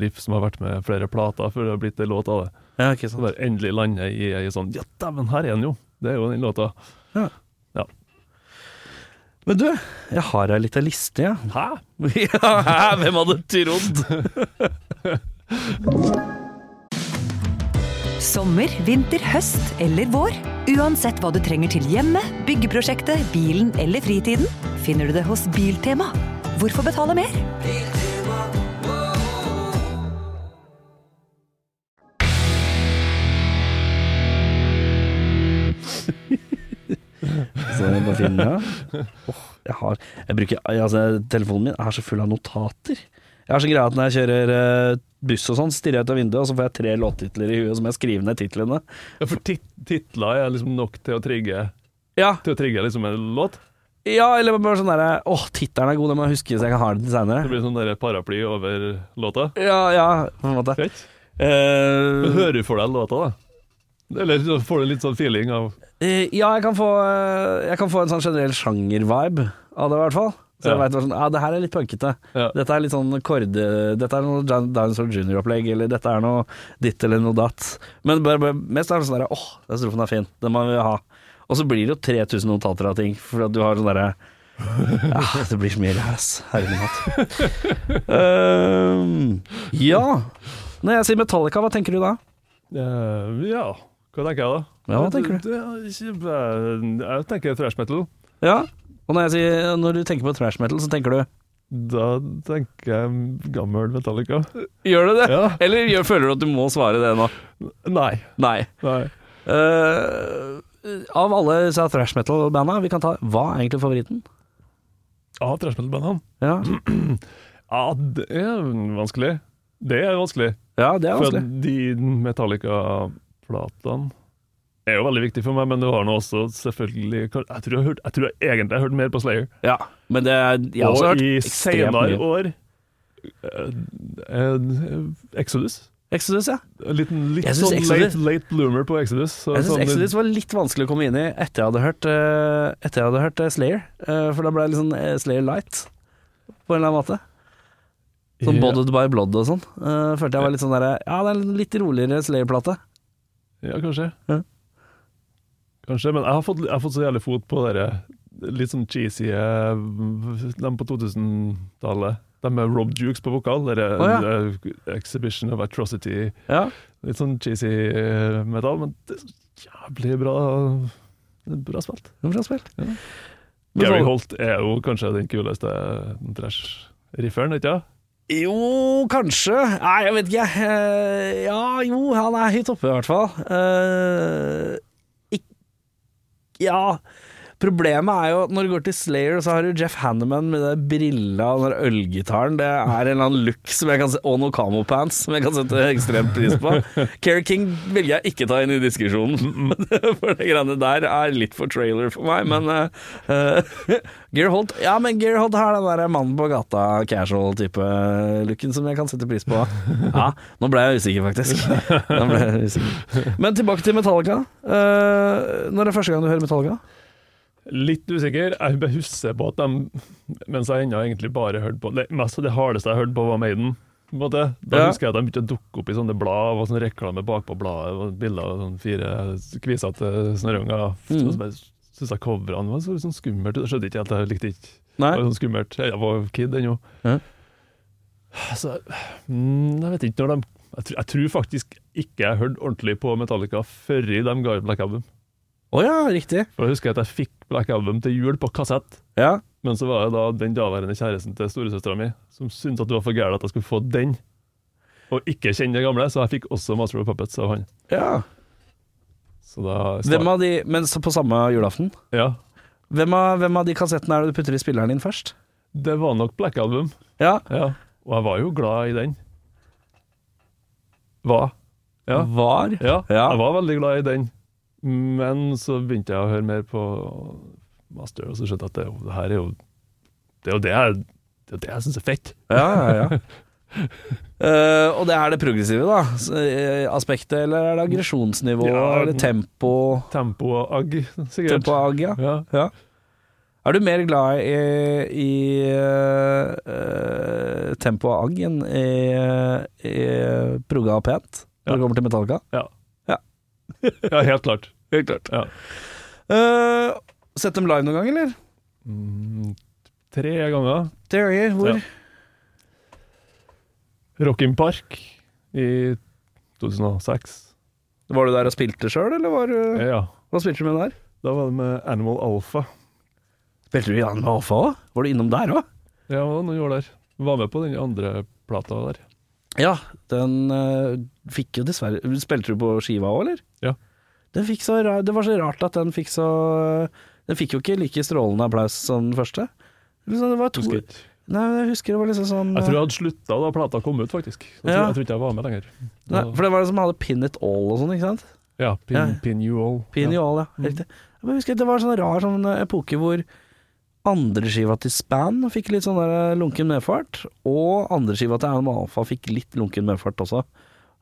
Riff som har vært med flere plater før det har blitt en låt av det.
ja, ikke
Så
sant.
bare endelig lander jeg i ei sånn Ja, dæven, her er den jo! Det er jo den låta.
Men du, jeg har ei lita liste, jeg.
Hæ?
Ja. Hvem hadde trodd?
Sommer, vinter, høst eller vår. Uansett hva du trenger til hjemmet, byggeprosjektet, bilen eller fritiden, finner du det hos Biltema. Hvorfor betale mer?
Så jeg bare finner ja. Åh, jeg har jeg bruker, altså, Telefonen min er så full av notater. Jeg har sånn greie at når jeg kjører eh, buss og sånn, så stirrer jeg ut av vinduet, og så får jeg tre låttitler i huet som jeg skriver ned titlene.
Ja, for tit titler er liksom nok til å trigge
Ja,
Til å trigge liksom en låt.
ja eller bare sånn derre Åh, tittelen er god, den må jeg huske så jeg kan ha den
Det
seinere.
blir sånn der paraply over låta.
Ja, ja, på en måte.
Fett. Men
Eh,
hører du for deg låta, da? Eller så får du litt sånn feeling av
eh, ja, jeg kan, få, eh, jeg kan få en sånn generell sjanger-vibe av det, i hvert fall. Så jeg
Ja.
vet hva sånn, ja, det her er litt punkete.
Ja.
Dette er litt sånn korde... Dette er noe Jan- Dinosaur Junior-opplegg, eller dette er noe ditt eller noe datt. Men bare, bare, mest er det sånn derre åh, den strofen er fin, den må vi ha. Og så blir det jo 3000 notater av ting, for at du har sånn derre ja, Det blir så mye ræs. Herre min hatt. Ehm, ja. Når jeg sier Metallica, hva tenker du da?
eh, Ja, hva tenker jeg da?
Ja, hva tenker du?
Det, det, ikke, eh, jeg tenker thrash metal.
Ja. Og når, jeg sier, når du tenker på trash metal, så tenker du
Da tenker jeg gammel Metallica.
Gjør du det?
Ja.
Eller gjør- føler du at du må svare det nå?
Nei.
Nei.
Nei.
Eh, av alle disse thrash metal-banda, vi kan ta Hva er egentlig favoritten?
Ja, thrash metal-bandene.
Ja,
Ja, det er vanskelig. Det er vanskelig.
ja det er
For
vanskelig.
at de Metallica-platene er jo veldig viktig for meg, men det var nå også selvfølgelig Jeg tror jeg, har hørt, jeg tror jeg egentlig har hørt mer på Slayer.
Ja, men det er, jeg har også
Og
hørt
i
ekstremt
senere
mye.
år eh, eh, Exodus.
Exodus, ja.
En liten, litt
Jeg synes
sånn
Exodus-
late, late bloomer på Exodus. Så,
Jeg
sånn,
syns Exodus var litt vanskelig å komme inn i etter jeg hadde hørt, eh, etter jeg hadde hørt eh, Slayer. Eh, for da ble det litt sånn eh, Slayer Light, på en eller annen måte. Sånn
Ja.
Bodded by Blood og sånn. Eh, følte jeg var litt sånn derre Ja, det er en litt roligere Slayer-plate.
Ja, kanskje.
Ja.
Kanskje, men jeg har fått, jeg har fått så jævlig fot på dere litt sånn cheesy eh, Dem på 2000-tallet. De med Rob Dukes på vokal. Dere,
Å,
eh, Exhibition of Atrocity.
Ja.
Litt sånn cheesy eh, metal, men det er så jævlig bra det er bra spilt.
det var Bra spilt.
Ja.
Men
Gary
så-
Holt er jo kanskje den kuleste trash-rifferen, ikke sant?
Jo, kanskje. Nei, jeg vet ikke. Eh, Ja, jo, han er høyt oppe i hvert fall. Eh, ikk, ja. Problemet er jo at når du går til Slayer, så har du Jeff Hanneman med det brilla og den der ølgitaren. Det er en eller annen look som jeg kan se, og noen camopants som jeg kan sette ekstremt pris på. Care King velger jeg ikke ta inn i diskusjonen, for det greiene der er litt for trailer for meg. Men eh, eh, Gear Holt Ja, men Gear Holt har den der mannen på gata, casual-type eh, looken som jeg kan sette pris på. Ja, nå ble jeg usikker, faktisk. Nå ble jeg usikker. Men tilbake til Metallica. Eh, når er det første gang du hører Metallica?
Litt usikker. Jeg bare husker på at de, mens jeg ennå egentlig bare hørte på Det mest av det hardeste jeg hørte på, var Maiden. på en måte. Da
Ja.
husker jeg at de begynte å dukke opp i sånne blad, og sånn reklame bakpå bladet, og bilder av sånne fire kvisete snørrunger.
Mm.
Mm. Jeg syntes coverne var så sånn skummelt ut. Jeg skjønte ikke helt, jeg likte ikke
Nei?
det. var sånn skummelt. Jeg var kid ennå.
Ja.
Så mm, jeg vet ikke når de jeg tror, jeg tror faktisk ikke jeg hørte ordentlig på Metallica før de ga ut Black Album.
Å ja, riktig.
For jeg husker at jeg fikk Black Album til jul på kassett.
Ja.
Men så var det da den daværende kjæresten til storesøstera mi som syntes at det var for gærent at jeg skulle få den, og ikke kjenne det gamle, så jeg fikk også Master of Puppets av han.
ja.
Så da
Hvem av de Men så på samme julaften?
Ja.
Hvem av, hvem av de kassettene er det du putter i spilleren din først?
Det var nok Black Album,
Ja.
ja. Og jeg var jo glad i den. Hva? Ja.
Var?
Ja,
Ja.
jeg var veldig glad i den. Men så begynte jeg å høre mer på Master, og så skjønte jeg at det, jo- det her er jo Det er jo det jeg, det er jo det jeg syns er fett.
Ja, ja, ja. Eh, og det er det progressive, da. Så, eh, aspektet, eller er det aggresjonsnivå,
Ja,
eller tempo?
Tempo og agg, sikkert.
Tempo ag, ja.
Ja.
ja. Er du mer glad i, i eh, tempo og agg enn i, i progga og pent når
Ja.
det kommer til Metallica?
Ja.
Ja.
ja, helt klart. Helt klart. Ja.
Eh, sett dem live noen gang, eller?
Mm, tre ganger.
Det gjør jeg. Hvor?
Ja. Rockin' Park i 2006.
Var du der og spilte sjøl, eller var, du-
Ja,
hva spilte du med der?
da var det med Animal Alpha.
Spilte du i Jan Mafa òg? Var du innom der òg?
Ja, hva var det noen gjorde der? Var med på den andre plata der.
Ja, den eh, fikk jo dessverre Spilte du på skiva òg, eller?
Ja.
Den fikk så ra- det var så rart at den fikk så Den fikk jo ikke like strålende applaus som den første. Liksom, det var to
Husker jeg ikke.
Nei, men jeg husker det var liksom sånn
Jeg tror jeg hadde slutta da plata kom ut, faktisk. Jeg tror,
Ja.
jeg tror ikke jeg var med lenger.
nei,
Da-
For det var det som hadde Pin It All og sånn, ikke sant?
ja, pin,
Ja.
pin You All.
Pin
ja.
It All, ja. Riktig. Jeg bare husker at Det var en sånn rar sånn epoke hvor andreskiva til Span fikk litt sånn der lunken medfart, og andreskiva til Animal Alpha fikk litt lunken medfart også.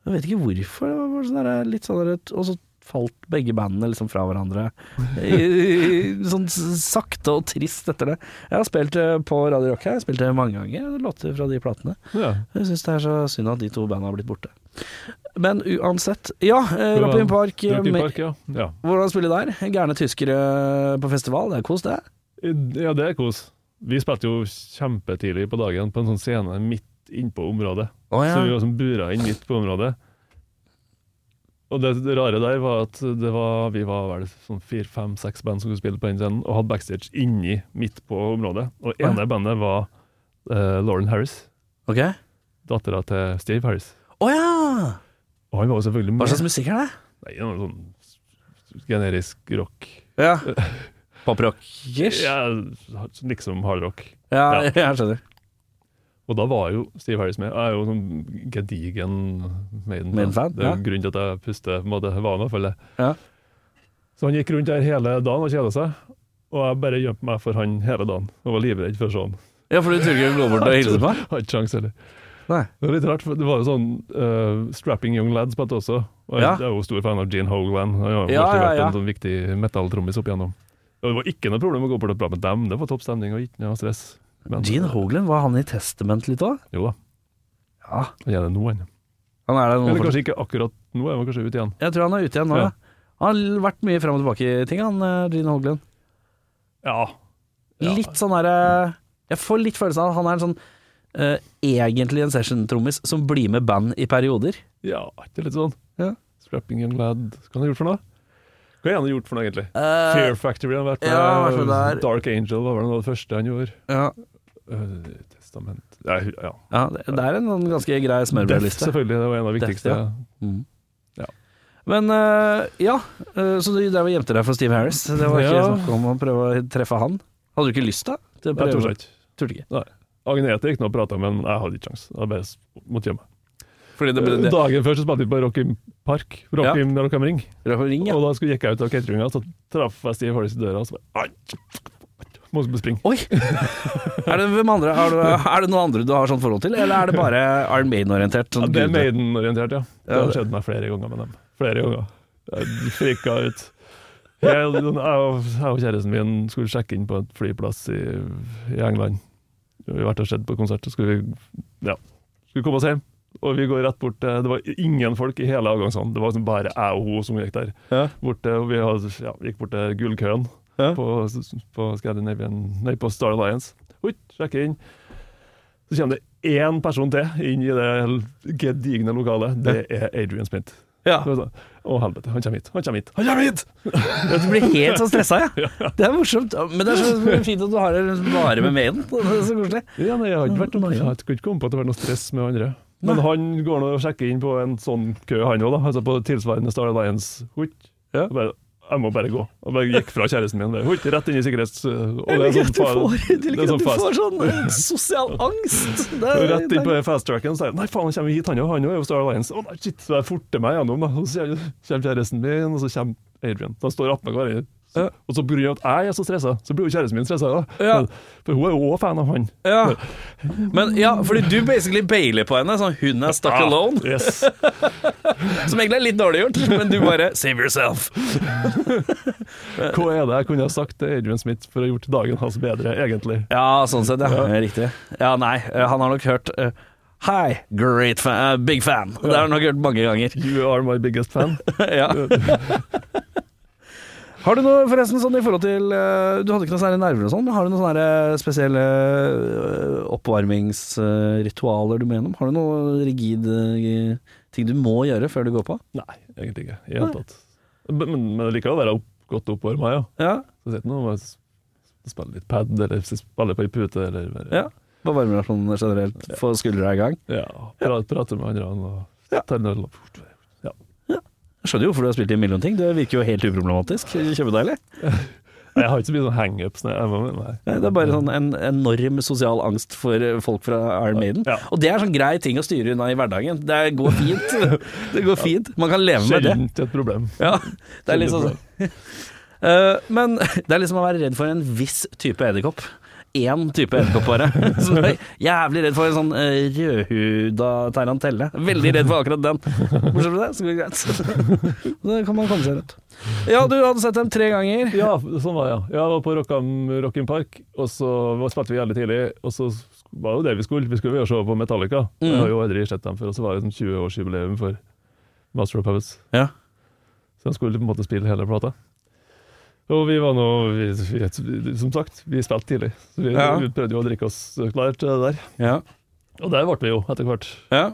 Jeg vet ikke hvorfor. det var bare sånn der, litt sånn der, Og så falt begge bandene liksom fra hverandre. I, i- sånn s- sakte og trist etter det. Jeg har spilt eh, på Radio Rock her, jeg har spilt det mange ganger, låter fra de platene.
Ja.
Jeg syns det er så synd at de to bandene har blitt borte. Men uansett Ja, eh,
Det var-
Rappin Park. eh,
Rockin'
med-
Park, ja. ja.
hvordan spille der? Gærne tyskere på festival, det er kos, det.
Ja, det er kos. Vi spilte jo kjempetidlig på dagen på en sånn scene midt innpå området.
Oh,
Så vi var som bura inn midt på området. Og det, det rare der var at det var, vi var vel sånn fire-fem-seks band som skulle spille på den scenen, og hadde backstage inni midt på området. Og
ja.
ene bandet var eh, Lauren Harris,
Ok.
dattera til Steve Harris.
Å ja!
Og han var jo selvfølgelig
Hva
med.
slags musikk er det?
Nei, det var sånn generisk rock.
Ja. Poprock-ish? Ja.
Ja, liksom hardrock. Ja.
jeg skjønner.
Og da var jo Steve Harris med. Jeg er jo sånn gedigen Maiden-fan.
Maiden-fan,
Det er jo
ja.
grunnen til at jeg puster på en måte var med, føler jeg.
Ja.
Så han gikk rundt der hele dagen og kjeda seg. Og jeg bare gjemte meg for han hele dagen og var livredd for å se han.
Ja, for du turte ikke å gå bort og hilse på?
Hadde ikke sjans heller.
Nei.
Det var litt rart, for det var jo sånn eh, Strapping Young Lads på dette også. Og jeg
Ja.
jeg er jo stor fan av Gene Hoglan. Han har jo
Ja,
alltid
ja,
vært
ja.
en sånn viktig metalltrommis opp igjennom. Og det var ikke noe problem å gå bort og prate med dem. Det var topp stemning og ikke noe stress. Men-
Gene Hoglan, var han i Testament litt òg?
Jo da.
Ja.
Han er det nå, han.
Han er der nå
Eller
fortsatt.
kanskje ikke akkurat nå, jeg var kanskje ute igjen.
Jeg tror han er ute igjen nå.
Ja.
Ja. Han har vært mye fram og tilbake i ting, han eh, Gene Hoglan.
Ja. Ja.
Litt sånn derre Jeg får litt følelsen av at han er en sånn eh, egentlig en session-trommis som blir med band i perioder.
Ja, er ikke det litt sånn?
Ja.
Strapping Young Lad. Hva har han gjort for noe? Hva har han gjort for noe, egentlig?
Eh,
Fear Factory har han vært med.
ja, han har vært med der.
Dark Angel var vel noe av det første han gjorde.
ja.
Eh, testament Nei, ja.
Ja, det det er en sånn ganske grei
Death,
smørbrødliste.
selvfølgelig. Det var en av de
Death,
viktigste.
ja. Mm.
Ja.
Men eh, ja, eh, så du drev og gjemte deg for Steve Harris. Det var ikke
Ja.
snakk om å prøve å treffe han. Hadde du ikke lyst da? til å
Jeg
prøve?
tror ikke.
Turte ikke.
Agnete gikk nå og prata med men jeg hadde ikke sjans. Jeg bare s- måtte gjemme meg.
Fordi det ble det.
Dagen før så spilte vi på Rockham Park, Rockham ja. Ring.
Ring, ja.
Og da skulle jeg gikk jeg ut av cateringa, så traff jeg Steve Hollis i døra, og så bare «Ai, Må springe.
Oi! Er det, hvem andre, har du, er det noen andre du har sånt forhold til, eller er det bare Iron Maiden-orientert? Sånn
Ja, det er
gud-
Maiden-orientert, ja. Det
Ja,
har
det-
skjedd meg flere ganger med dem. Flere ganger. Jeg frika ut. Jeg, jeg og jeg og kjæresten min skulle sjekke inn på et flyplass i, i England. Vi har vært og sett på konsert, så skulle vi, ja, skulle komme oss hjem. Og vi går rett bort til Det var ingen folk i hele avgangshallen. Det var liksom bare jeg og hun som gikk der.
Ja.
Bort til, og vi hadde, ja, gikk bort til gullkøen
Ja.
på, på Scandinavian Nei, på Star Alliance. Oi, sjekke inn. Så kommer det én person til inn i det gedigne lokalet. Det er Adrian Smith.
Ja.
Så jeg sa, Å, helvete. Han kommer hit. Han kommer hit. Han kommer hit!
Du blir helt sånn stressa, ja. Det er morsomt. Men det er så fint at du har det liksom bare med Maiden. Det er så koselig.
Ja, nei, jeg har ikke vært noe, jeg har ikke kommet på at det har vært noe stress med andre. Men
Nei.
han går nå og sjekker inn på en sånn kø, han òg, da. Altså på tilsvarende Star Alliance. Hoit.
Ja.
Og Bare, jeg må bare gå. Og bare gikk fra kjæresten min. Bare, hoit, rett inn i sikkerhets... Og
Jeg
det er
liker
sånn
at du
far-
får, jeg
det er
liker at
sånn
du
fast.
får sånn eh, sosial angst. Det
Og
er-
Rett inn på fast-tracken så er jeg, nei faen, han kommer hit, han òg, han også er jo Star Alliance. Å nei, shit, så jeg forter meg gjennom, da. Og så kommer kjæresten min, og så kommer Adrian. Så han står attmed hverandre, Så, og så pga. at jeg er så stressa, så blir jo kjæresten min stressa. da.
Ja.
For hun er jo òg fan av han.
Ja. Men ja, fordi du basically bailer på henne, sånn hun er stuck alone.
Ah, yes.
Som egentlig er litt dårlig gjort, men du bare save yourself.
Hva er det jeg kunne ha sagt til Adrian Smith for å ha gjort dagen hans bedre, egentlig?
Ja, sånn sett, ja. Riktig. Ja, nei, eh, han har nok hørt eh, Hi, great fan, eh, big fan. Det har han nok hørt mange ganger.
You are my biggest fan.
ja. Har du noe forresten sånn i forhold til eh, Du hadde ikke noe særlig nerver og sånn, men har du noen sånne her, eh, spesielle eh, oppvarmingsritualer du må gjennom? Har du noe rigid eh, ting du må gjøre før du går på?
Nei, egentlig ikke. I det hele tatt. Men, men jeg liker å være opp, godt oppvarma, ja.
Ja,
Så sitter nå og bare s- spiller litt pad, eller s- spiller på ei pute, eller bare,
ja. Bare varmer deg sånn generelt, få skuldra i gang.
ja, pra- prater med andre og tar en øl og ja.
Jeg skjønner jo hvorfor du har spilt i en million ting, det virker jo helt uproblematisk. Kjempedeilig.
Nei, Jeg har ikke så mye sånn hangups. når jeg er med, Nei.
Det er bare sånn en enorm sosial angst for eh, folk fra Iron Maiden.
Ja.
Og det er sånn grei ting å styre unna i hverdagen. Det går fint. Det går fint. Man kan leve med det.
Sjelden et problem.
Ja, det er litt sånn Eh, Men det er liksom å være redd for en viss type edderkopp. Én type edderkopp bare. Så du er jævlig redd for en sånn eh, rødhuda tarantelle. Veldig redd for akkurat den. Bortsett fra det, så går det greit. Det kan man komme seg rundt. Ja, du hadde sett dem tre ganger.
Ja, sånn var det. ja. Jeg var på Rockham- Rock in Park, og så var- spilte vi jævlig tidlig. Og så var jo det vi skulle. Vi skulle jo se på Metallica. Jeg har jo aldri sett dem før, og så var det sånn 20-årsjubileum for Master of Puppets.
Ja.
Så de skulle på en måte spille hele plata. Og vi var nå vi, vi, Som sagt, vi spilte tidlig. Så vi,
Ja.
vi prøvde jo å drikke oss klar til det der.
Ja.
Og der ble vi jo, etter hvert.
ja.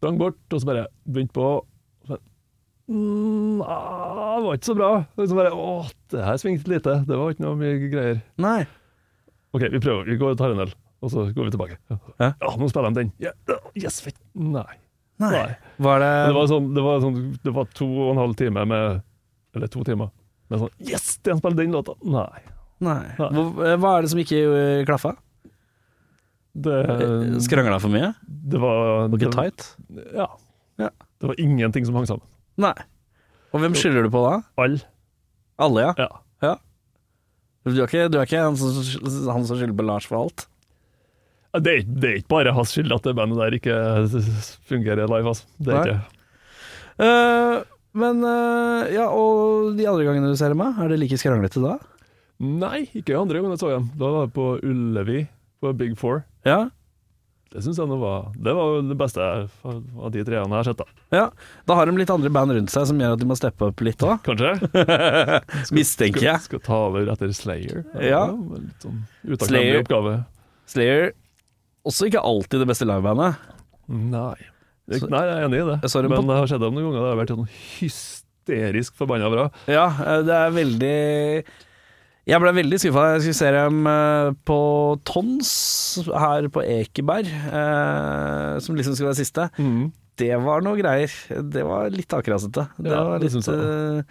Sprang bort, og så bare begynte på. og så bare, Mm, ah, det var ikke så bra. Og så bare, Åh, det her svingte lite. Det var ikke noe mye greier.
Nei.
Ok, vi prøver. Vi går og tar en øl, og så går vi tilbake.
Hæ?
Ja, nå spiller de den. Ja, Yes, fett. Nei.
Nei.
Nei.
Var det,
Men Det var, sånn, det, var sånn, det var to og en halv time med Eller to timer. Med sånn Yes, den spiller den låta! Nei.
Nei. Hva, hva er det som ikke eh, klaffa?
Det,
Skrangla Eh, for mye?
det var
Var
det,
ikke tight?
Ja.
Ja.
Det var ingenting som hang sammen.
Nei. Og hvem skylder du på da?
All.
Alle, ja.
Ja.
Du er ikke, du er ikke han, som, han som skylder på Lars for alt?
Det er, ikke- det er ikke bare hans skyld at det bandet der ikke fungerer live, altså. Det er
Nei.
ikke
Eh, men eh, ja, og de andre gangene du ser meg, er det like skranglete da?
Nei, ikke andre gangen jeg så dem. Da var jeg på Ullevi, på Big Four.
Ja.
Det syns jeg nå var Det var jo det beste jeg- av de treene jeg har sett, da.
ja. Da har de litt andre band rundt seg som gjør at de må steppe opp litt òg.
Kanskje?
Mistenker
Skal,
jeg.
skal ta over etter Slayer.
Ja.
Det var Litt sånn utakknemlig
Slayer.
oppgave.
Slayer også ikke alltid det beste livebandet.
Nei. Jeg,
Så-
nei, jeg er enig i det.
Jeg så dem på-
Men det har skjedd dem noen ganger. Det har vært sånn hysterisk forbanna bra.
Ja, eh, det er veldig Jeg ble veldig skuffa da jeg skulle se dem eh, på Tons her på Ekeberg, eh, som liksom skulle være siste. Det var noe greier. Det var litt akrasete. Det,
Ja,
var
det
litt,
syns jeg.
eh,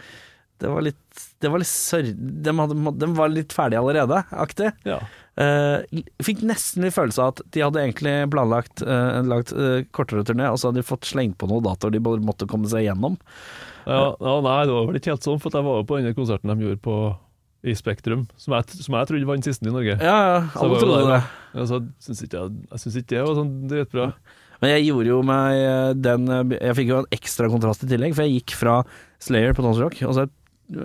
det var litt Det var litt sørr... De, hadde- de var litt ferdige allerede, aktig.
Ja.
Eh, fikk nesten litt følelse av at de hadde egentlig planlagt eh, en langt eh, kortere turné, og så hadde de fått slengt på noen datoer de bare måtte komme seg gjennom.
Ja, ja, nei, det var vel ikke helt sånn, for at jeg var jo på denne konserten de gjorde på i Spektrum, som jeg, som jeg trodde var den siste i Norge.
Ja, ja,
Så
alle
var jo
trodde
der,
det.
Ja, så syns ikke jeg, jeg syns ikke det var sånn dritbra.
Men jeg gjorde jo meg eh, den eh, Jeg fikk jo en ekstra kontrast i tillegg, for jeg gikk fra Slayer på Tons Rock, og så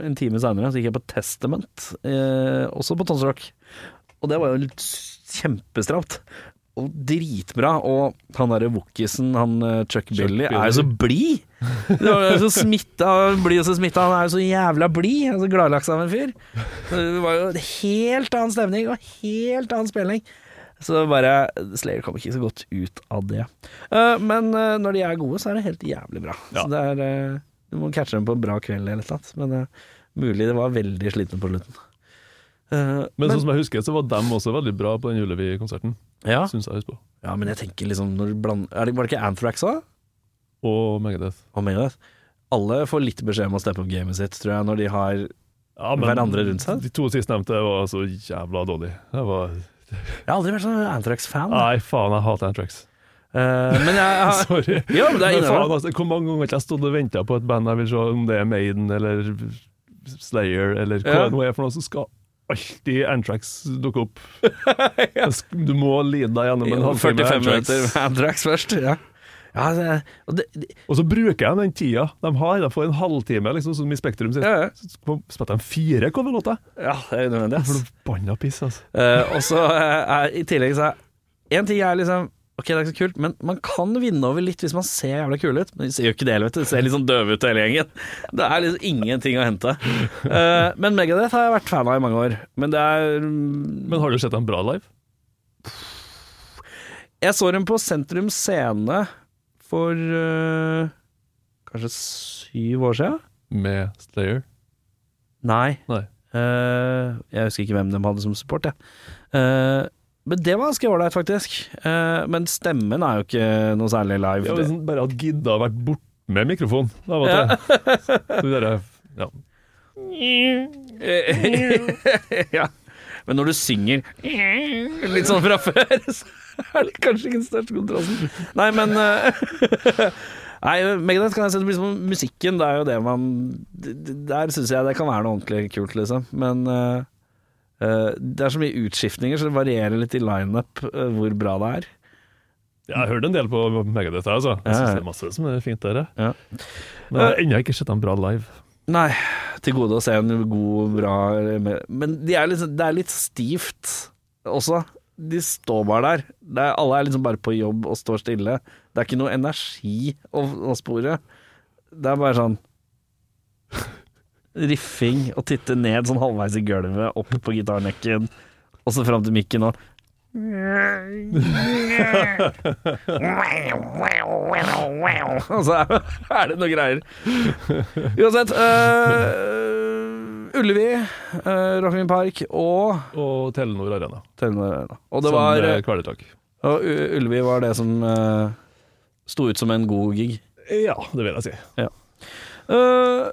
en time seinere gikk jeg på Testament, eh, også på Tons Rock. Og det var jo litt s- kjempestramt. Og dritbra. Og han derre wookisen, han eh, Chuck Billy, er jo så blid! Det var jo så smitta, blid og så smitta. Han er jo så jævla blid. Han er Så gladlaks av en fyr. Så Det var jo en helt annen stemning og helt annen spilling. Så bare Slayer kom ikke så godt ut av det. Eh, men eh, når de er gode, så er det helt jævlig bra.
Ja.
Så det er eh, Du må catche dem på en bra kveld eller noe sånt. Men eh, mulig det var veldig slitne på slutten. Eh,
Men, sånn som jeg husker, så var dem også veldig bra på den Ullevi-konserten.
ja.
Syns jeg husker på.
ja, men jeg tenker liksom når du blander, er det, Var det ikke Anthrax òg?
Og Megadeth.
Og Megadeth? Alle får litt beskjed om å steppe opp gamet sitt, tror jeg, når de har
Ja,
Hverandre rundt seg?
De to sistnevnte var så jævla dårlig. Jeg var,
Jeg har aldri vært sånn Anthrax-fan.
nei, faen, jeg hater Antrax.
Eh, men jeg har
Sorry.
Ja, men det er
Men faen,
innenfor.
altså, hvor mange ganger har jeg ikke stått og venta på et band jeg vil se, om det er Maiden eller Slayer eller hva
Ja.
det nå er for noe, så skal alltid Antrax dukke opp. Du må lide deg gjennom en
45
halvtime Anthrax.
minutter med Andrax først. Ja. Ja, det, og det, det,
Og så bruker de den tida de har, da, for en halvtime, liksom, som i Spektrum sitt.
Ja, ja.
Så spilte de fire coverlåter.
ja, det er unødvendig. ass.
Forbanna piss, altså.
Eh, og så eh, er i tillegg så er En ting er liksom Ok, det er ikke så kult, men man kan vinne over litt hvis man ser jævla kul ut. Men de ser jo ikke det, vet du. De ser litt sånn døve ut hele gjengen. Det er liksom ingenting å hente. Eh, men Megadeth har jeg vært fan av i mange år. Men det er mm,
Men har du sett dem bra live?
Jeg så dem på Sentrum Scene for eh, kanskje syv år siden.
Med Slayer?
Nei.
Nei.
Eh, jeg husker ikke hvem de hadde som support, jeg. Eh, men det var ganske ålreit, faktisk. Eh, men stemmen er jo ikke noe særlig live.
Ja,
det.
hvis han bare hadde gidda å vært borte med mikrofon. Da var det. Så det der, ja.
ja. Men når du synger litt sånn fra før, så er det kanskje ikke den største kontrasten. Nei, men eh, Nei, Megadeth kan jeg se det blir som musikken. Det er jo det man d- d- Der syns jeg det kan være noe ordentlig kult, liksom. Men eh, eh, det er så mye utskiftninger, så det varierer litt i lineup eh, hvor bra det er.
Jeg har hørt en del på Megadeth, jeg, altså. Jeg
Ja,
synes
ja.
det er masse som er fint der. jeg.
Ja.
Men jeg har ennå ikke sett dem bra live.
Nei, til gode å se en god, bra Men de er litt, det er litt stivt også. De står bare der. Det er, alle er liksom bare på jobb og står stille. Det er ikke noe energi å, å spore. Det er bare sånn Riffing og titte ned sånn halvveis i gulvet, opp på gitarnekken, og så fram til mikken og Og så er, er det noe greier. Uansett øh, Ullevi, øh, Rockmin Park og
Og Telenor Arena.
Telenor Arena. Og, det
Som
var,
eh, kvelertak.
og U- Ullevi var det som øh, sto ut som en god gig.
Ja, det vil jeg si.
Øh,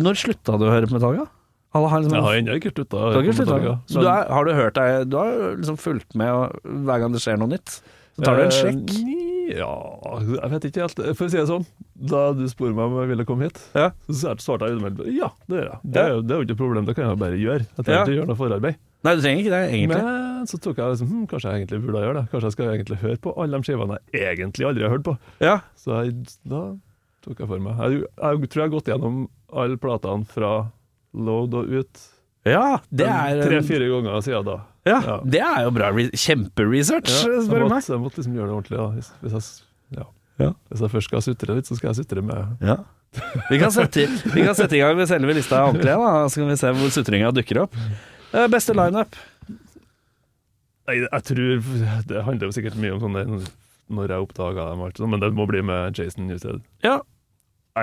når slutta du å høre på Metallica? Alle har liksom
Jeg har ennå ikke slutta.
Du har ikke sluttet? Så du
Men-
er, har du hørt deg Du har liksom fulgt med og, hver gang det skjer noe nytt? Så tar du en sjekk?
Eh, ni- Ja, jeg vet ikke helt. For å si det sånn, da du spurte meg om jeg ville komme hit,
Ja.
så svarte jeg umiddelbart ja, det gjør jeg. Det er, jo, det er jo ikke et problem, det kan jeg bare gjøre. Jeg trenger
Ja.
ikke gjøre noe forarbeid.
Nei, du trenger ikke det, egentlig.
Men så tok jeg liksom, hm, kanskje jeg egentlig burde gjøre det. Kanskje jeg skal egentlig høre på alle de skivene jeg egentlig aldri har hørt på.
Ja.
Så jeg, da tok jeg for meg. Jeg, jeg tror jeg har gått gjennom alle platene fra Load og ut eh,
ja, det er
tre-fire ganger siden da.
ja,
Ja.
Det er jo bra. re- Kjemperesearch,
jeg,
spør du meg.
måtte, jeg måtte liksom gjøre det ordentlig. Da. Hvis, hvis, jeg, s- ja.
Ja.
hvis jeg først skal sutre litt, så skal jeg sutre med
Vi kan, sette, vi kan sette i gang med selve lista ordentlig, da, så kan vi se hvor sutringa dukker opp. Eh, Beste lineup.
Nei, jeg tror Det handler jo sikkert mye om sånn der, når jeg oppdaga dem, alt sånt, men det må bli med Jason Newsted.
Ja.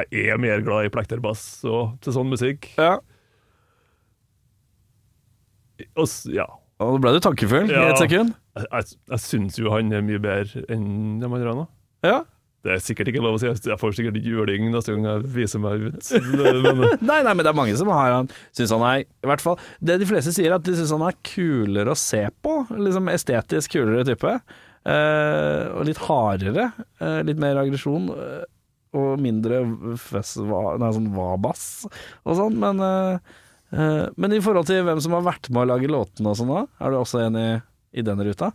Jeg er mer glad i plekterbass og til sånn musikk.
ja.
Og, s- ja.
Og da ble du tankefull i
Ja.
et sekund.
Jeg, jeg, jeg syns jo han er mye bedre enn de andre. nå.
Ja.
Det er sikkert ikke lov å si, jeg får sikkert juling neste gang jeg viser meg ut. Men eh,
Nei, nei, men det er mange som har han Synes han er I hvert fall Det de fleste sier er at de synes han er kulere å se på Liksom estetisk kulere type eh, Og litt hardere eh, Litt mer aggresjon eh, Og mindre fess, va, Nei, sånn vabass Og sånn Men eh, eh, Men i forhold til hvem som har vært med å lage låtene og sånn da Er du også enig i den ruta?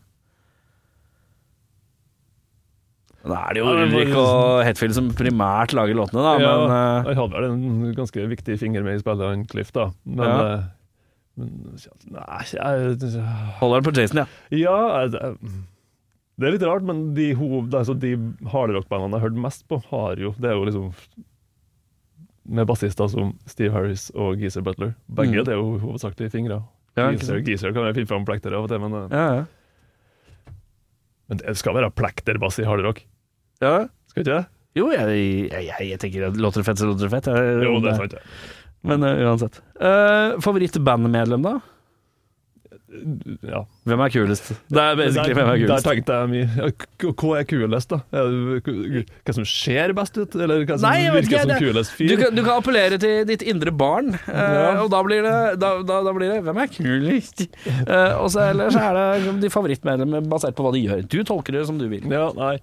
Da er det jo
Ja, det var-
Ulrik og Hetfield som primært lager låtene da
ja,
Men eh,
Han hadde vel en ganske viktig finger med i spillet, han Cliff, da. Men,
Ja.
eh, men Nei, jeg
holder den på Jason, ja
Ja, det, det er litt rart, men de, hov- det er så de hardrockbandene jeg har hørt mest på, har jo Det er jo liksom med bassister som Steve Harris og Geezer Butler. Begge
Mm.
det er jo hovedsakelig fingre.
Ja, ikke
Geezer,
sant?
Geezer kan jeg finne fram plekter av og til, men, eh,
Ja, ja.
men det skal være plekterbass i hardrock.
ja.
Skal ikke det?
Jo, jeg, jeg, jeg, jeg tenker at låter det fett, så låter det fett. Jeg,
Jo, det er sant. det.
Eh, Men eh, uansett. Uh, Favorittbandmedlem, da?
Ja.
Hvem er kulest? Det er basically hvem er
der, der
kulest.
tenkte jeg mye. Ja, k- Hva er kulest, da? Er det k- Hva som ser best ut? Eller hva som
Nei, jeg vet
virker
ikke,
som
det-
kulest
Du
fyr?
kan, du kan appellere til ditt indre barn, eh,
Ja.
og da blir, det, da, da, da blir det 'Hvem er kulest?' Eh, og så ellers er det liksom de favorittmedlemmer basert på hva de gjør. Du tolker det som du vil.
Ja, nei. Jeg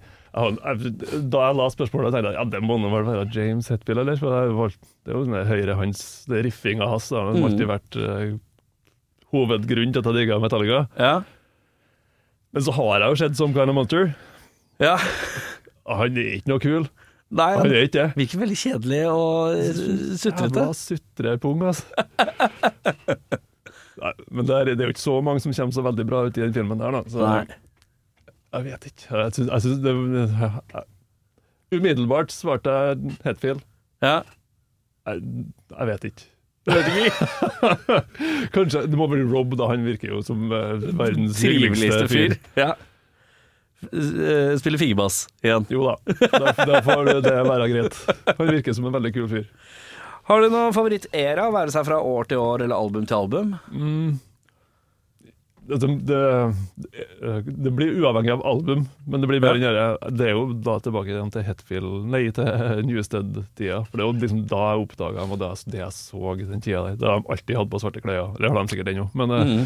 har- jeg- Da jeg la spørsmålet, tenkte jeg ja, det må nå vel være James Hetfield, eller? For det, var, det er jo sånn høyre hans, det riffinga hans, det har jo
Mm.
alltid vært eh, hovedgrunnen til at jeg digga Metallica.
Ja.
Men så har jeg jo sett Some Kind of Monster.
ja.
Og Han er ikke noe kul.
Nei,
Han er ikke det.
virker veldig kjedelig og eh, sutrete.
Jævla sutrepung, altså. Nei, men det er, det er jo ikke så mange som kommer så veldig bra ut i den filmen der, da. Så
Nei.
jeg vet ikke. Jeg synes, jeg synes det, umiddelbart svarte jeg Hetfield.
Ja.
Jeg, jeg vet ikke. Jeg vet ikke. Kanskje Det må bli Rob, da. Han virker jo som eh, verdens hyggeligste fyr.
Ja. Eh, Spiller figebass igjen.
Jo da. Da, da får det være greit. Han virker som en veldig kul fyr.
Har du noen favorittera, være seg fra år til år eller album til album?
det, det, det blir uavhengig av album, men det blir mer enn det. Det er jo da tilbake igjen til Hetfield, nei, til Newsted-tida. For det er jo liksom da jeg oppdaga dem, og det, jeg- det jeg så i den tida der. Det har de alltid hatt på svarte klær, det har de sikkert ennå. Men
Mm.
eh,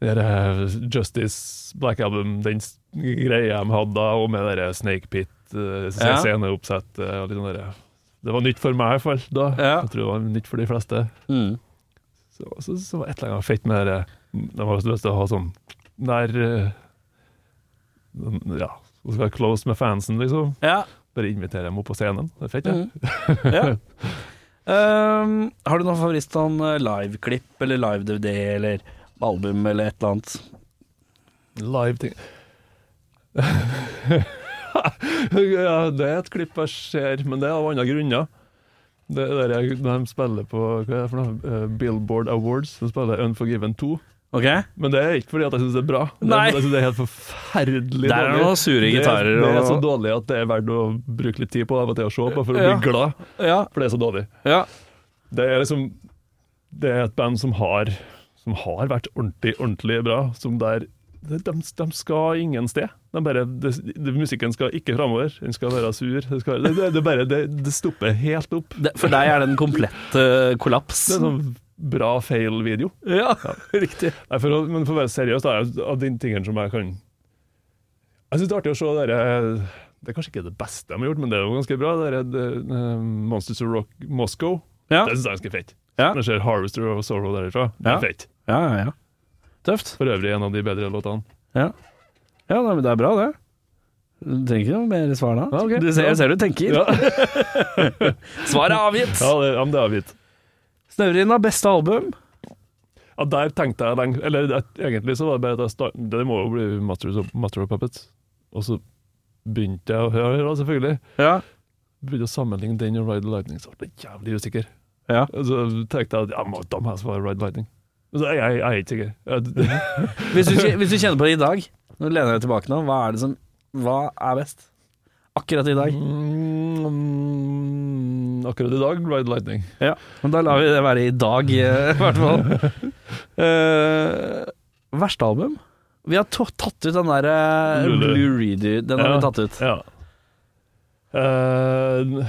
det er, eh, Justice, Black Album, den s- greia de hadde da, og med det der Snake Pit,
Ja.
eh, sceneoppsett eh, og litt sånn der. Det var nytt for meg, i hvert fall. da.
Ja.
Jeg tror det var nytt for de fleste.
Mm.
Så, så, så var et eller annet fett med det De har lyst til å ha sånn nær eh, sånn, Ja, hun skal være close med fansen, liksom.
Ja.
Bare invitere dem opp på scenen. Det er fett,
Mm.
ja.
ja. Ehm, har du noen favoritt sånn eh, liveklipp eller live-DVD eller album eller et eller annet?
Live ting ja, Det er et klipp jeg ser, men det er av andre grunner. Det er der jeg, de spiller på hva er det for noe? Eh, Billboard Awards. De spiller Unforgiven 2.
Ok?
Men det er ikke fordi at jeg syns det er bra. Det
Nei.
er, fordi jeg synes det er helt forferdelig
Der er det
dårlig.
noen sure gitarer
Det, er- det er
og-
så dårlig at det er verdt å bruke litt tid på av og til å se på for å
Ja.
bli glad,
Ja.
for det er så dårlig.
ja.
Det er liksom Det er et band som har Som har vært ordentlig, ordentlig bra, som der de, de, de skal ingen sted. De bare, det- det- musikken skal ikke framover. Den skal være sur. Det, skal, det, det, det, bare, det, det stopper helt opp.
Det, for deg er det en komplett eh, kollaps.
Det er en sånn bra feil-video.
Ja, riktig.
Nei, for å, men for å være seriøs, da, er av de tingene som jeg kan Jeg syns det er artig å se det der, eh, Det er kanskje ikke det beste de har gjort, men det er jo ganske bra. Det der, det, eh, Monsters of Rock Moscow.
Ja.
Det syns jeg er ganske fett.
Ja.
Når jeg ser Harvester of Sorrow derifra, det
Ja.
er fett.
Ja, ja, ja. Tøft.
For øvrig en av de bedre låtene.
Ja, ja nei, men det er bra, det. Du trenger ikke noe mer svar da.
Ja, ok.
Du ser,
Ja.
jeg ser du tenker.
Ja, ja
Svaret er avgitt!
det, ja, men det er avgitt.
Snøvrien har beste album.
Ja, der tenkte jeg lenge Eller det, egentlig så var det bare at jeg start, Det må jo bli Masters of, Master of Puppets. Og så begynte jeg å høre, da, selvfølgelig.
Ja.
Begynte å sammenligne den og Ride the Lightning, så ble jeg jævlig usikker.
Ja.
Og Så tenkte jeg at ja, må- de her som var Ride Lightning. Og Så jeg, jeg, jeg er ikke sikker. Jeg,
Hvis, du, hvis du kjenner på det i dag, nå lener jeg tilbake nå, hva er det som Hva er best? Akkurat i dag.
Mm, mm, akkurat i dag, Ride Lightning.
Ja. Men da lar vi det være i dag, eh, i hvert fall. Eh, verste album? Vi har to- tatt ut den derre
Lulu.
Blue Reedy. Den har
Ja.
vi tatt ut.
Ja. Eh,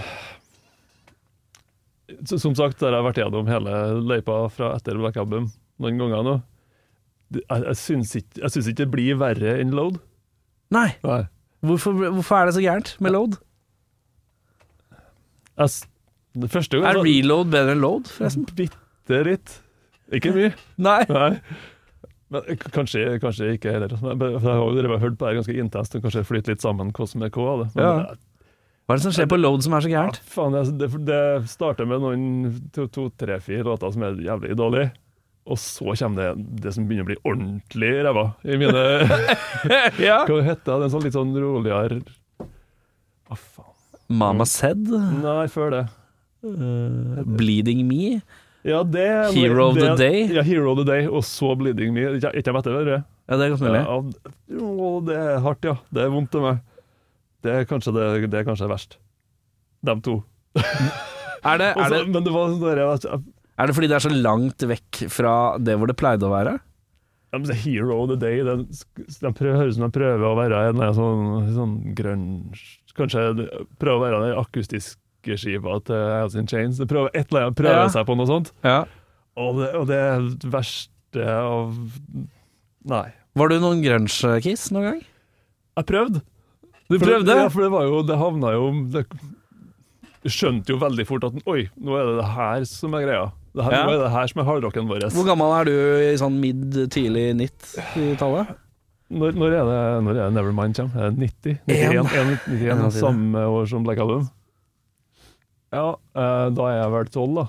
så- som sagt, der har jeg vært gjennom hele løypa fra etter Black Album noen ganger nå. Det- Jeg, jeg, syns ikke, jeg syns ikke det blir verre enn Load.
Nei,
Nei.
hvorfor, hvorfor er det så gærent med load?
Jeg, s- det første
Er
gang
reload bedre enn load, forresten?
Bitte litt. Ikke mye.
Nei.
Nei. Men eh, k- kanskje, kanskje ikke heller. Men- men Jeg har jo drevet og hørt på det her ganske intenst, og kanskje flyter litt sammen hva som er hva. av det. Men
Ja.
jeg
Hva er det som skjer på load som er så
Ja,
gærent?
faen, det, det, det starter med noen to, to, tre, fire låter som er jævlig dårlige. Og så kommer det det som begynner å bli ordentlig ræva i mine
Ja.
Hva heter det? En sånn litt sånn roligere Å, faen.
Mama Said,
Nei, før det.
Eh, Bleeding Me.
Ja, det er noe-
Hero of the
det-
Day?
Ja, Hero of the Day, og så Bleeding Me. Ikke ikke jeg vet det, det.
Ja, det er godt mulig.
Ja, å, det er hardt, ja. Det er vondt til meg. Det er kanskje det, det er kanskje verst. Dem to.
Er det, er,
Også,
det,
men det var sånn der, jeg,
er det fordi det er så langt vekk fra det hvor det pleide å være?
Ja, men det er Hero of the Day den, den prøver, høres ut som de prøver å være en eh, sånn, sånn grunge Kanskje de prøver å være den akustiske skiva til Alice in Chains. De prøver, et eller annet, prøver
Ja.
seg på noe sånt.
Ja.
Og det, og det er det verste av Nei.
Var du noen grunge-kiss noen gang?
Jeg prøvde.
Du
For
prøvde?
Det, ja, for det var jo Det havna jo det, Du skjønte jo veldig fort at Oi, nå er det det her som er greia. Det her,
Ja.
Nå er det her som er hardrocken vår.
Hvor gammel er du i sånn midd, tidlig nitt i tallet?
Når, når, er det, når er det Nevermind kommer? Er det 90? 91? 91,
En av de.
samme år som Black Album? Ja, eh, da er jeg vel tolv, da.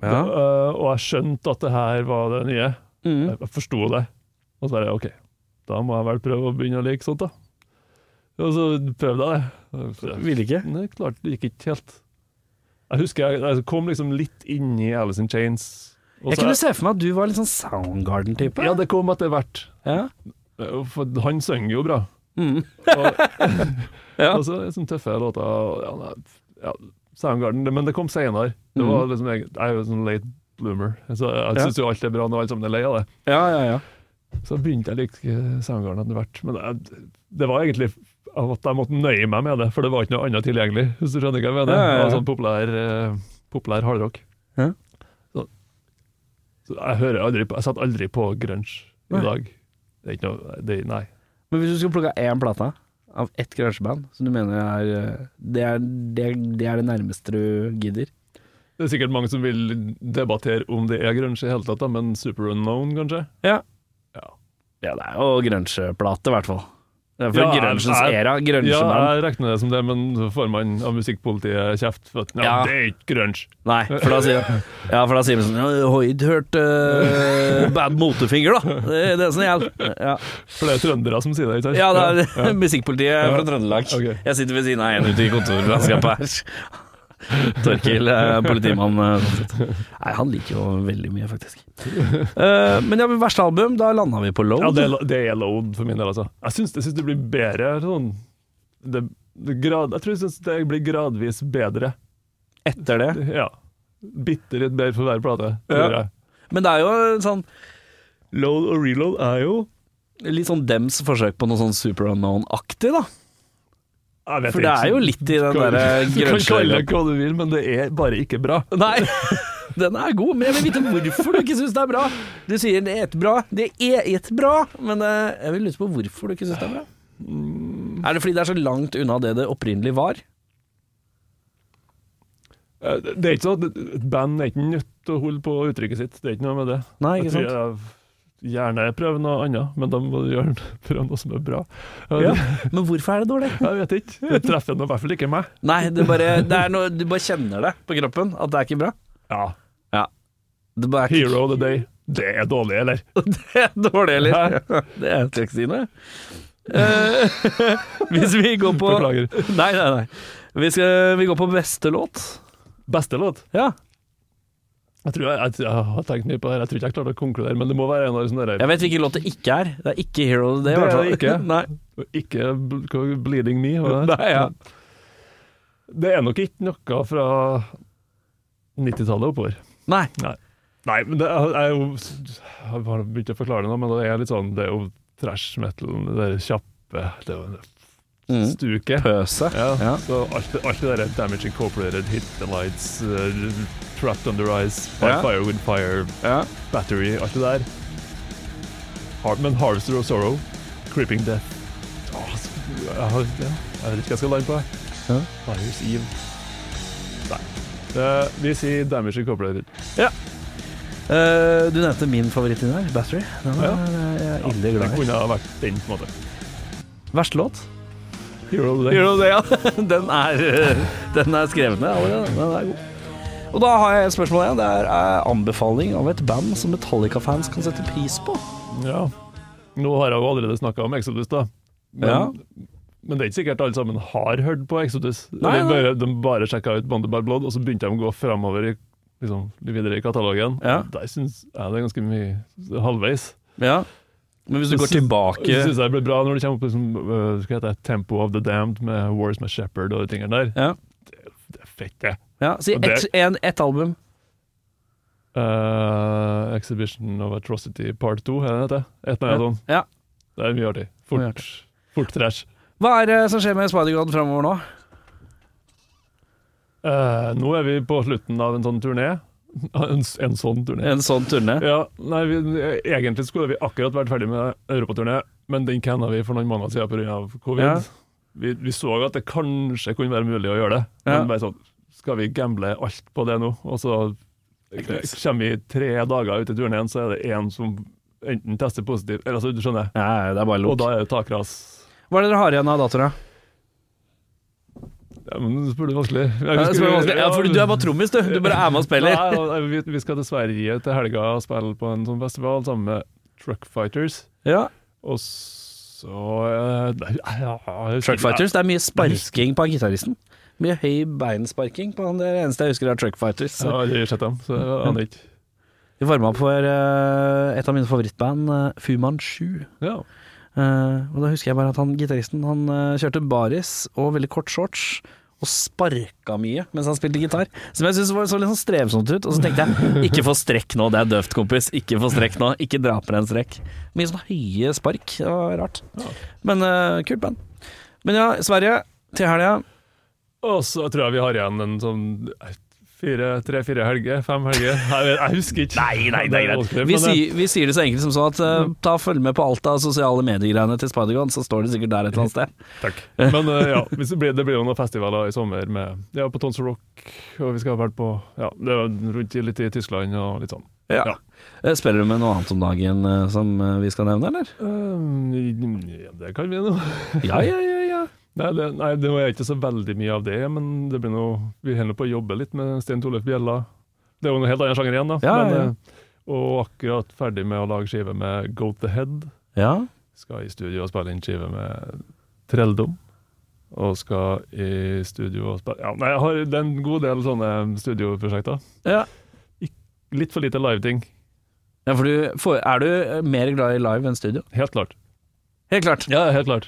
Da, eh, og jeg skjønte at det her var det nye.
Mm.
Jeg, jeg forsto det. Og så bare OK, da må jeg vel prøve å begynne å like sånt, da. Og så prøvde jeg det. Så jeg-
Ville ikke.
Nei, klart det gikk ikke helt. Jeg husker jeg, jeg kom liksom litt inn i Alice in Chains. og
Jeg
så-
kunne se for meg at du var litt sånn Soundgarden-type.
ja, det kom etter hvert.
Ja.
For han synger jo bra.
Mm.
Og,
Ja.
Og så er det sånne tøffe låter. og Ja, nei, ja, Soundgarden, det- men det kom senere. Det var liksom, jeg, jeg er jo sånn late bloomer. Så jeg
Mm. Ja.
syns jo alt er bra når alle sammen er lei av det.
ja, ja, ja.
Så begynte jeg å like Soundgarden etter hvert. Men jeg, det var egentlig at jeg måtte nøye meg med det, for det var ikke noe annet tilgjengelig. Hvis du skjønner hva jeg mener.
Ja, ja, ja.
Det var sånn populær, eh, populær hardrock.
Ja.
Så, så jeg hører aldri på Jeg satt aldri på grunge
Nei.
i dag. Det er ikke noe det, Nei.
Men hvis du skulle plukka én plate av ett grungeband som du mener er eh, det, er det, det er det nærmeste du gidder
Det er sikkert mange som vil debattere om det er grunge i hele tatt, da, men Super Unknown, kanskje?
Ja.
Ja.
Ja, det er jo grungeplate, i hvert fall. Det er fra
Ja, jeg-
grungens
jeg-
era.
Ja,
Grungeband.
jeg regner det som det, men så får man av musikkpolitiet kjeft for at nei,
Ja.
det er ikke grunge.
Nei, for da sier, ja, for da sier vi sånn ja, Har ikke hørt eh, Bad Motefinger, da? Det, det er sånn jeg ja.
For det er trøndere som sier det, ikke sant?
ja, det er musikkpolitiet fra Trøndelag.
Ok.
Jeg sitter ved siden av en ute i kontorlandskapet her. Torkil, eh, politimann. eh, sånn sett. Nei, han liker jo veldig mye, faktisk. Eh, men ja, men verste album, da landa vi på Load.
Ja, det, er lo- det er load for min del, altså. Jeg syns, jeg syns det blir bedre sånn det, det grad, Jeg tror jeg syns det blir gradvis bedre.
Etter det.
Ja. Bitte litt bedre for hver plate,
Ja.
tror jeg.
Men det er jo en sånn
Load og reload er jo
litt sånn dems forsøk på noe sånn Super Unknown-aktig, da.
jeg sånn- vet
For det
ikke.
er jo litt i den eh,
Kan-
derre
Du kan kalle
grønnsjøen.
det hva du vil, men det er bare ikke bra.
Nei, den er god, men jeg vil vite hvorfor du ikke syns det er bra. Du sier det er et bra, det er et bra, men eh, jeg vil lure på hvorfor du ikke syns det er bra. Mm. Er det fordi det er så langt unna det det opprinnelig var?
Eh, Det er ikke sånn at et band er ikke nødt til å holde på uttrykket sitt. Det er ikke noe med det.
Nei,
Jeg
ikke
tror
sant?
jeg gjerne prøver noe annet, men da må du gjøre, prøve noe som er bra.
Ja. Men hvorfor er det dårlig?
Jeg vet ikke. Det treffer nå i hvert fall ikke meg.
Nei, det er bare, det er noe, du bare kjenner det på kroppen, at det er ikke bra.
Ja.
Det bare er ikke
Hero of the day. Det er dårlig, eller?
det er dårlig, eller? Det er ikke Stine. Eh, hvis vi går på
Beklager.
Nei, nei, nei. Vi, skal, vi går på beste låt.
Beste låt?
Ja.
Jeg tror jeg, jeg, jeg har tenkt mye på det. her. Jeg tror ikke jeg klarte å konkludere, men det må være en av de sånne der
Jeg vet hvilken låt det ikke er. Det er ikke Hero of the Day. i
Det er
hvert fall.
det ikke.
Nei.
Ikke bl- hva- Bleeding Me. hva det er.
Nei, ja.
Det er nok ikke noe fra 90-tallet oppover.
Nei.
Nei, men det er, er jo Jeg har begynt å forklare det nå, men det er litt sånn Det er jo trash metal, det er kjappe Det er jo en
Mm.
stuke.
Pøse.
Ja,
Ja.
Så alt, det- alt det der Damage Incorporated, Hit the Lights, eh, Trapped Under Ice, By
Ja.
Fire With Fire,
Ja.
Battery, alt det der. Har, men Harvester of Sorrow, Creeping Death Åh, så- jeg, har, ja, jeg vet ikke hva jeg skal lande på. her.
Ja.
Fires Eve. Nei. Eh, vi sier Damage Incorporated.
Eh, du nevnte min favoritt din her, Battery. Den er
Ja.
eh, jeg er ille
det
glad i.
kunne ha vært den, på en måte.
Verste låt?
Hero of the Day.
Hero of the Day, ja. Den er, eh, den er skrevet ned allerede. Den er god. Og da har jeg et spørsmål igjen. Det er eh, anbefaling av et band som Metallica-fans kan sette pris på.
Ja. Nå har jeg jo allerede snakka om Exodus, da. Men,
Ja.
men det er ikke sikkert alle sammen har hørt på Exodus.
Nei,
de,
nei.
bare, de bare sjekka ut Bonded by Blood, og så begynte de å gå framover i, liksom, videre i katalogen.
Ja.
Der syns jeg det er ganske mye halvveis.
Ja. Men hvis du
Jeg
går
syns-
tilbake
Jeg syns det blir bra når det kommer opp liksom, øh, hva heter det, Tempo of the Damned med Wars med Shepherd og de tingene der.
Ja.
Det er fett, det.
ja si
Og det-
ett et album.
Eh, Exhibition of Atrocity Part 2, er sånn. det det? heter? Et eller annet sånt.
Ja.
Det er mye
Mye
artig. Fort, fort trash.
Hva er det som skjer med Spider-God framover nå?
Eh, nå er vi på slutten av en sånn turné. En, s- en sånn turné.
En sånn turné?
Ja, nei, vi, egentlig skulle vi akkurat vært ferdig med europaturné, men den canna vi for noen måneder siden pga. covid.
Ja.
Vi, vi så at det kanskje kunne være mulig å gjøre det,
Ja.
men bare sånn, skal vi gamble alt på det nå? Og så kommer vi tre dager ut i turneen, så er det én som enten tester positivt, eller altså, du skjønner.
Ja, det er bare
Og
lort.
da er det takras.
Hva er det dere har igjen av datoene?
Ja, men du spør det vanskelig. Jeg
Ja,
husker-
det er vanskelig. ja, fordi du er bare trommis, du. Du bare er med og spiller.
Nei, og eh, vi, vi skal til Sverige til helga og spille på en sånn festival sammen med Truck Fighters.
Ja.
Og så eh, nei, ja, jeg husker
Truck
ikke.
Fighters, det er mye sparking på han gitaristen. Mye høy beinsparking på han. Det er det eneste jeg husker er Truck Fighters.
Jeg har aldri sett dem, så jeg aner ikke.
Vi varma opp for eh, et av mine favorittband, eh, Fu Manchu.
Ja.
Eh, og da husker jeg bare at han gitaristen han eh, kjørte baris og veldig kort shorts. Og sparka mye mens han spilte gitar. Som jeg syntes var så litt sånn strevsomt ut. Og så tenkte jeg ikke få strekk nå, det er døvt, kompis. Ikke få strekk nå. Ikke dra på deg en strekk. Mye sånn høye spark. Det var rart. Men eh, kult band. Men ja, Sverige til helga.
Og så tror jeg vi har igjen en sånn fire, tre-fire helger, fem helger. Jeg, vet- jeg husker ikke. Nei,
Vi,
eh,
sier, vi sier det så enkelt som så at eh, ta og følg med på alt av sosiale mediegreiene til Spider-Gun, så står det sikkert der et eller annet sted.
Takk. Men eh, ja, hvis det blir, det blir jo noen festivaler i sommer med Ja, på Tonsor Rock, og vi skal vel på Ja, det er rundt i- litt i Tyskland og litt sånn.
Ja.
Ja.
Eh, Spiller du med noe annet om dagen eh, som eh, vi skal nevne, eller?
Eh, ja, det kan vi nå.
Ja, ja, ja. ja.
Nei, det, nei, det var ikke så veldig mye av det, men det blir noe, vi holder på å jobbe litt med Sten Torleif Bjella. Det er jo noe helt annen sjanger igjen, da.
Ja,
men,
ja, ja.
eh, Og akkurat ferdig med å lage skive med Goat the Head.
Ja,
Skal i studio og spille inn skive med Trelldom. Og skal i studio og spille Ja, nei, jeg har, det er en god del sånne studioprosjekter.
ja.
Litt for lite live-ting,
for du, for, er du eh, mer glad i live enn studio?
helt klart.
Helt klart.
Ja, helt klart.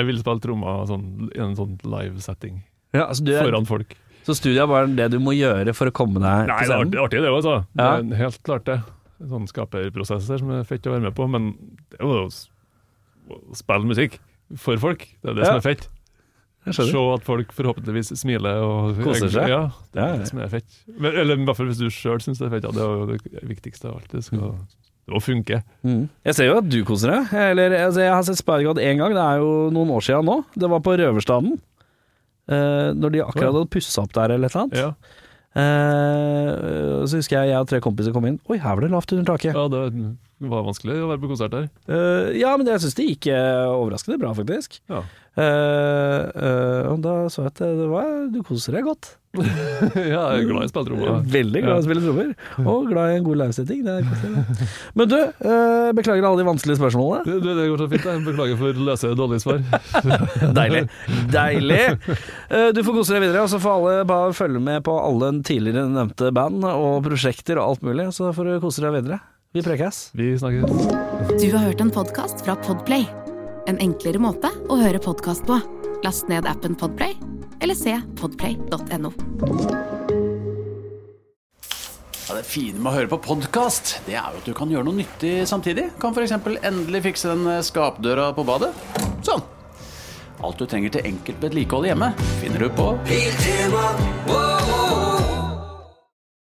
Jeg vil spille trommer og sånn, i en sånn live-setting
Ja, altså, du er,
foran folk.
så studio er bare det du må gjøre for å komme deg til
Nei, det er
scenen?
artig, artig det òg, altså. Det
Ja.
er helt klart det. Sånne skaperprosesser som er fett å være med på, men det er jo å s- å spille musikk for folk. Det er det
Ja,
som er fett.
Jeg
Se
skjønner.
at folk forhåpentligvis smiler og
Koser seg.
Ja, det
Ja,
er
ja.
det som er fett. Men, eller i hvert fall hvis du sjøl syns det er fett. Ja, det er jo det viktigste av alt. Det skal det må funke.
Mm. Jeg ser jo at du koser deg. Eller, altså, jeg har sett Spider-God én gang, det er jo noen år siden nå. Det var på Røverstaden. Eh, når de akkurat
Ja.
hadde pussa opp der eller et eller annet.
Ja,
Eh, så husker jeg jeg og tre kompiser kom inn. Oi, her var det lavt under taket. Ja,
ja det var vanskelig å være på konsert der.
ja men jeg syns det gikk eh, overraskende bra, faktisk.
Ja.
Eh, eh, og da så jeg at det det var Du koser deg godt.
ja, jeg er glad i å spille trommer.
Veldig glad i å spille trommer, og glad i en god livesetting. Det er koselig, det. Men du, eh, beklager alle de vanskelige spørsmålene.
Det, det, det går så fint. Jeg beklager for løse, dårlige svar.
Deilig. Deilig. Eh, Du får kose deg videre, og så får alle bare følge med på alle tidligere nevnte band og prosjekter og alt mulig. Så får du kose deg videre. Vi prekes.
Vi snakkes.
Du har hørt en podkast fra Podplay. En enklere måte å høre podkast på. Last ned appen Podplay, eller se podplay.no.
Ja, det fine med å høre på podkast, det er jo at du kan gjøre noe nyttig samtidig. Kan f.eks. endelig fikse den eh, skapdøra på badet. Sånn. Alt du trenger til enkelt vedlikehold hjemme, finner du på
Biltema, wow.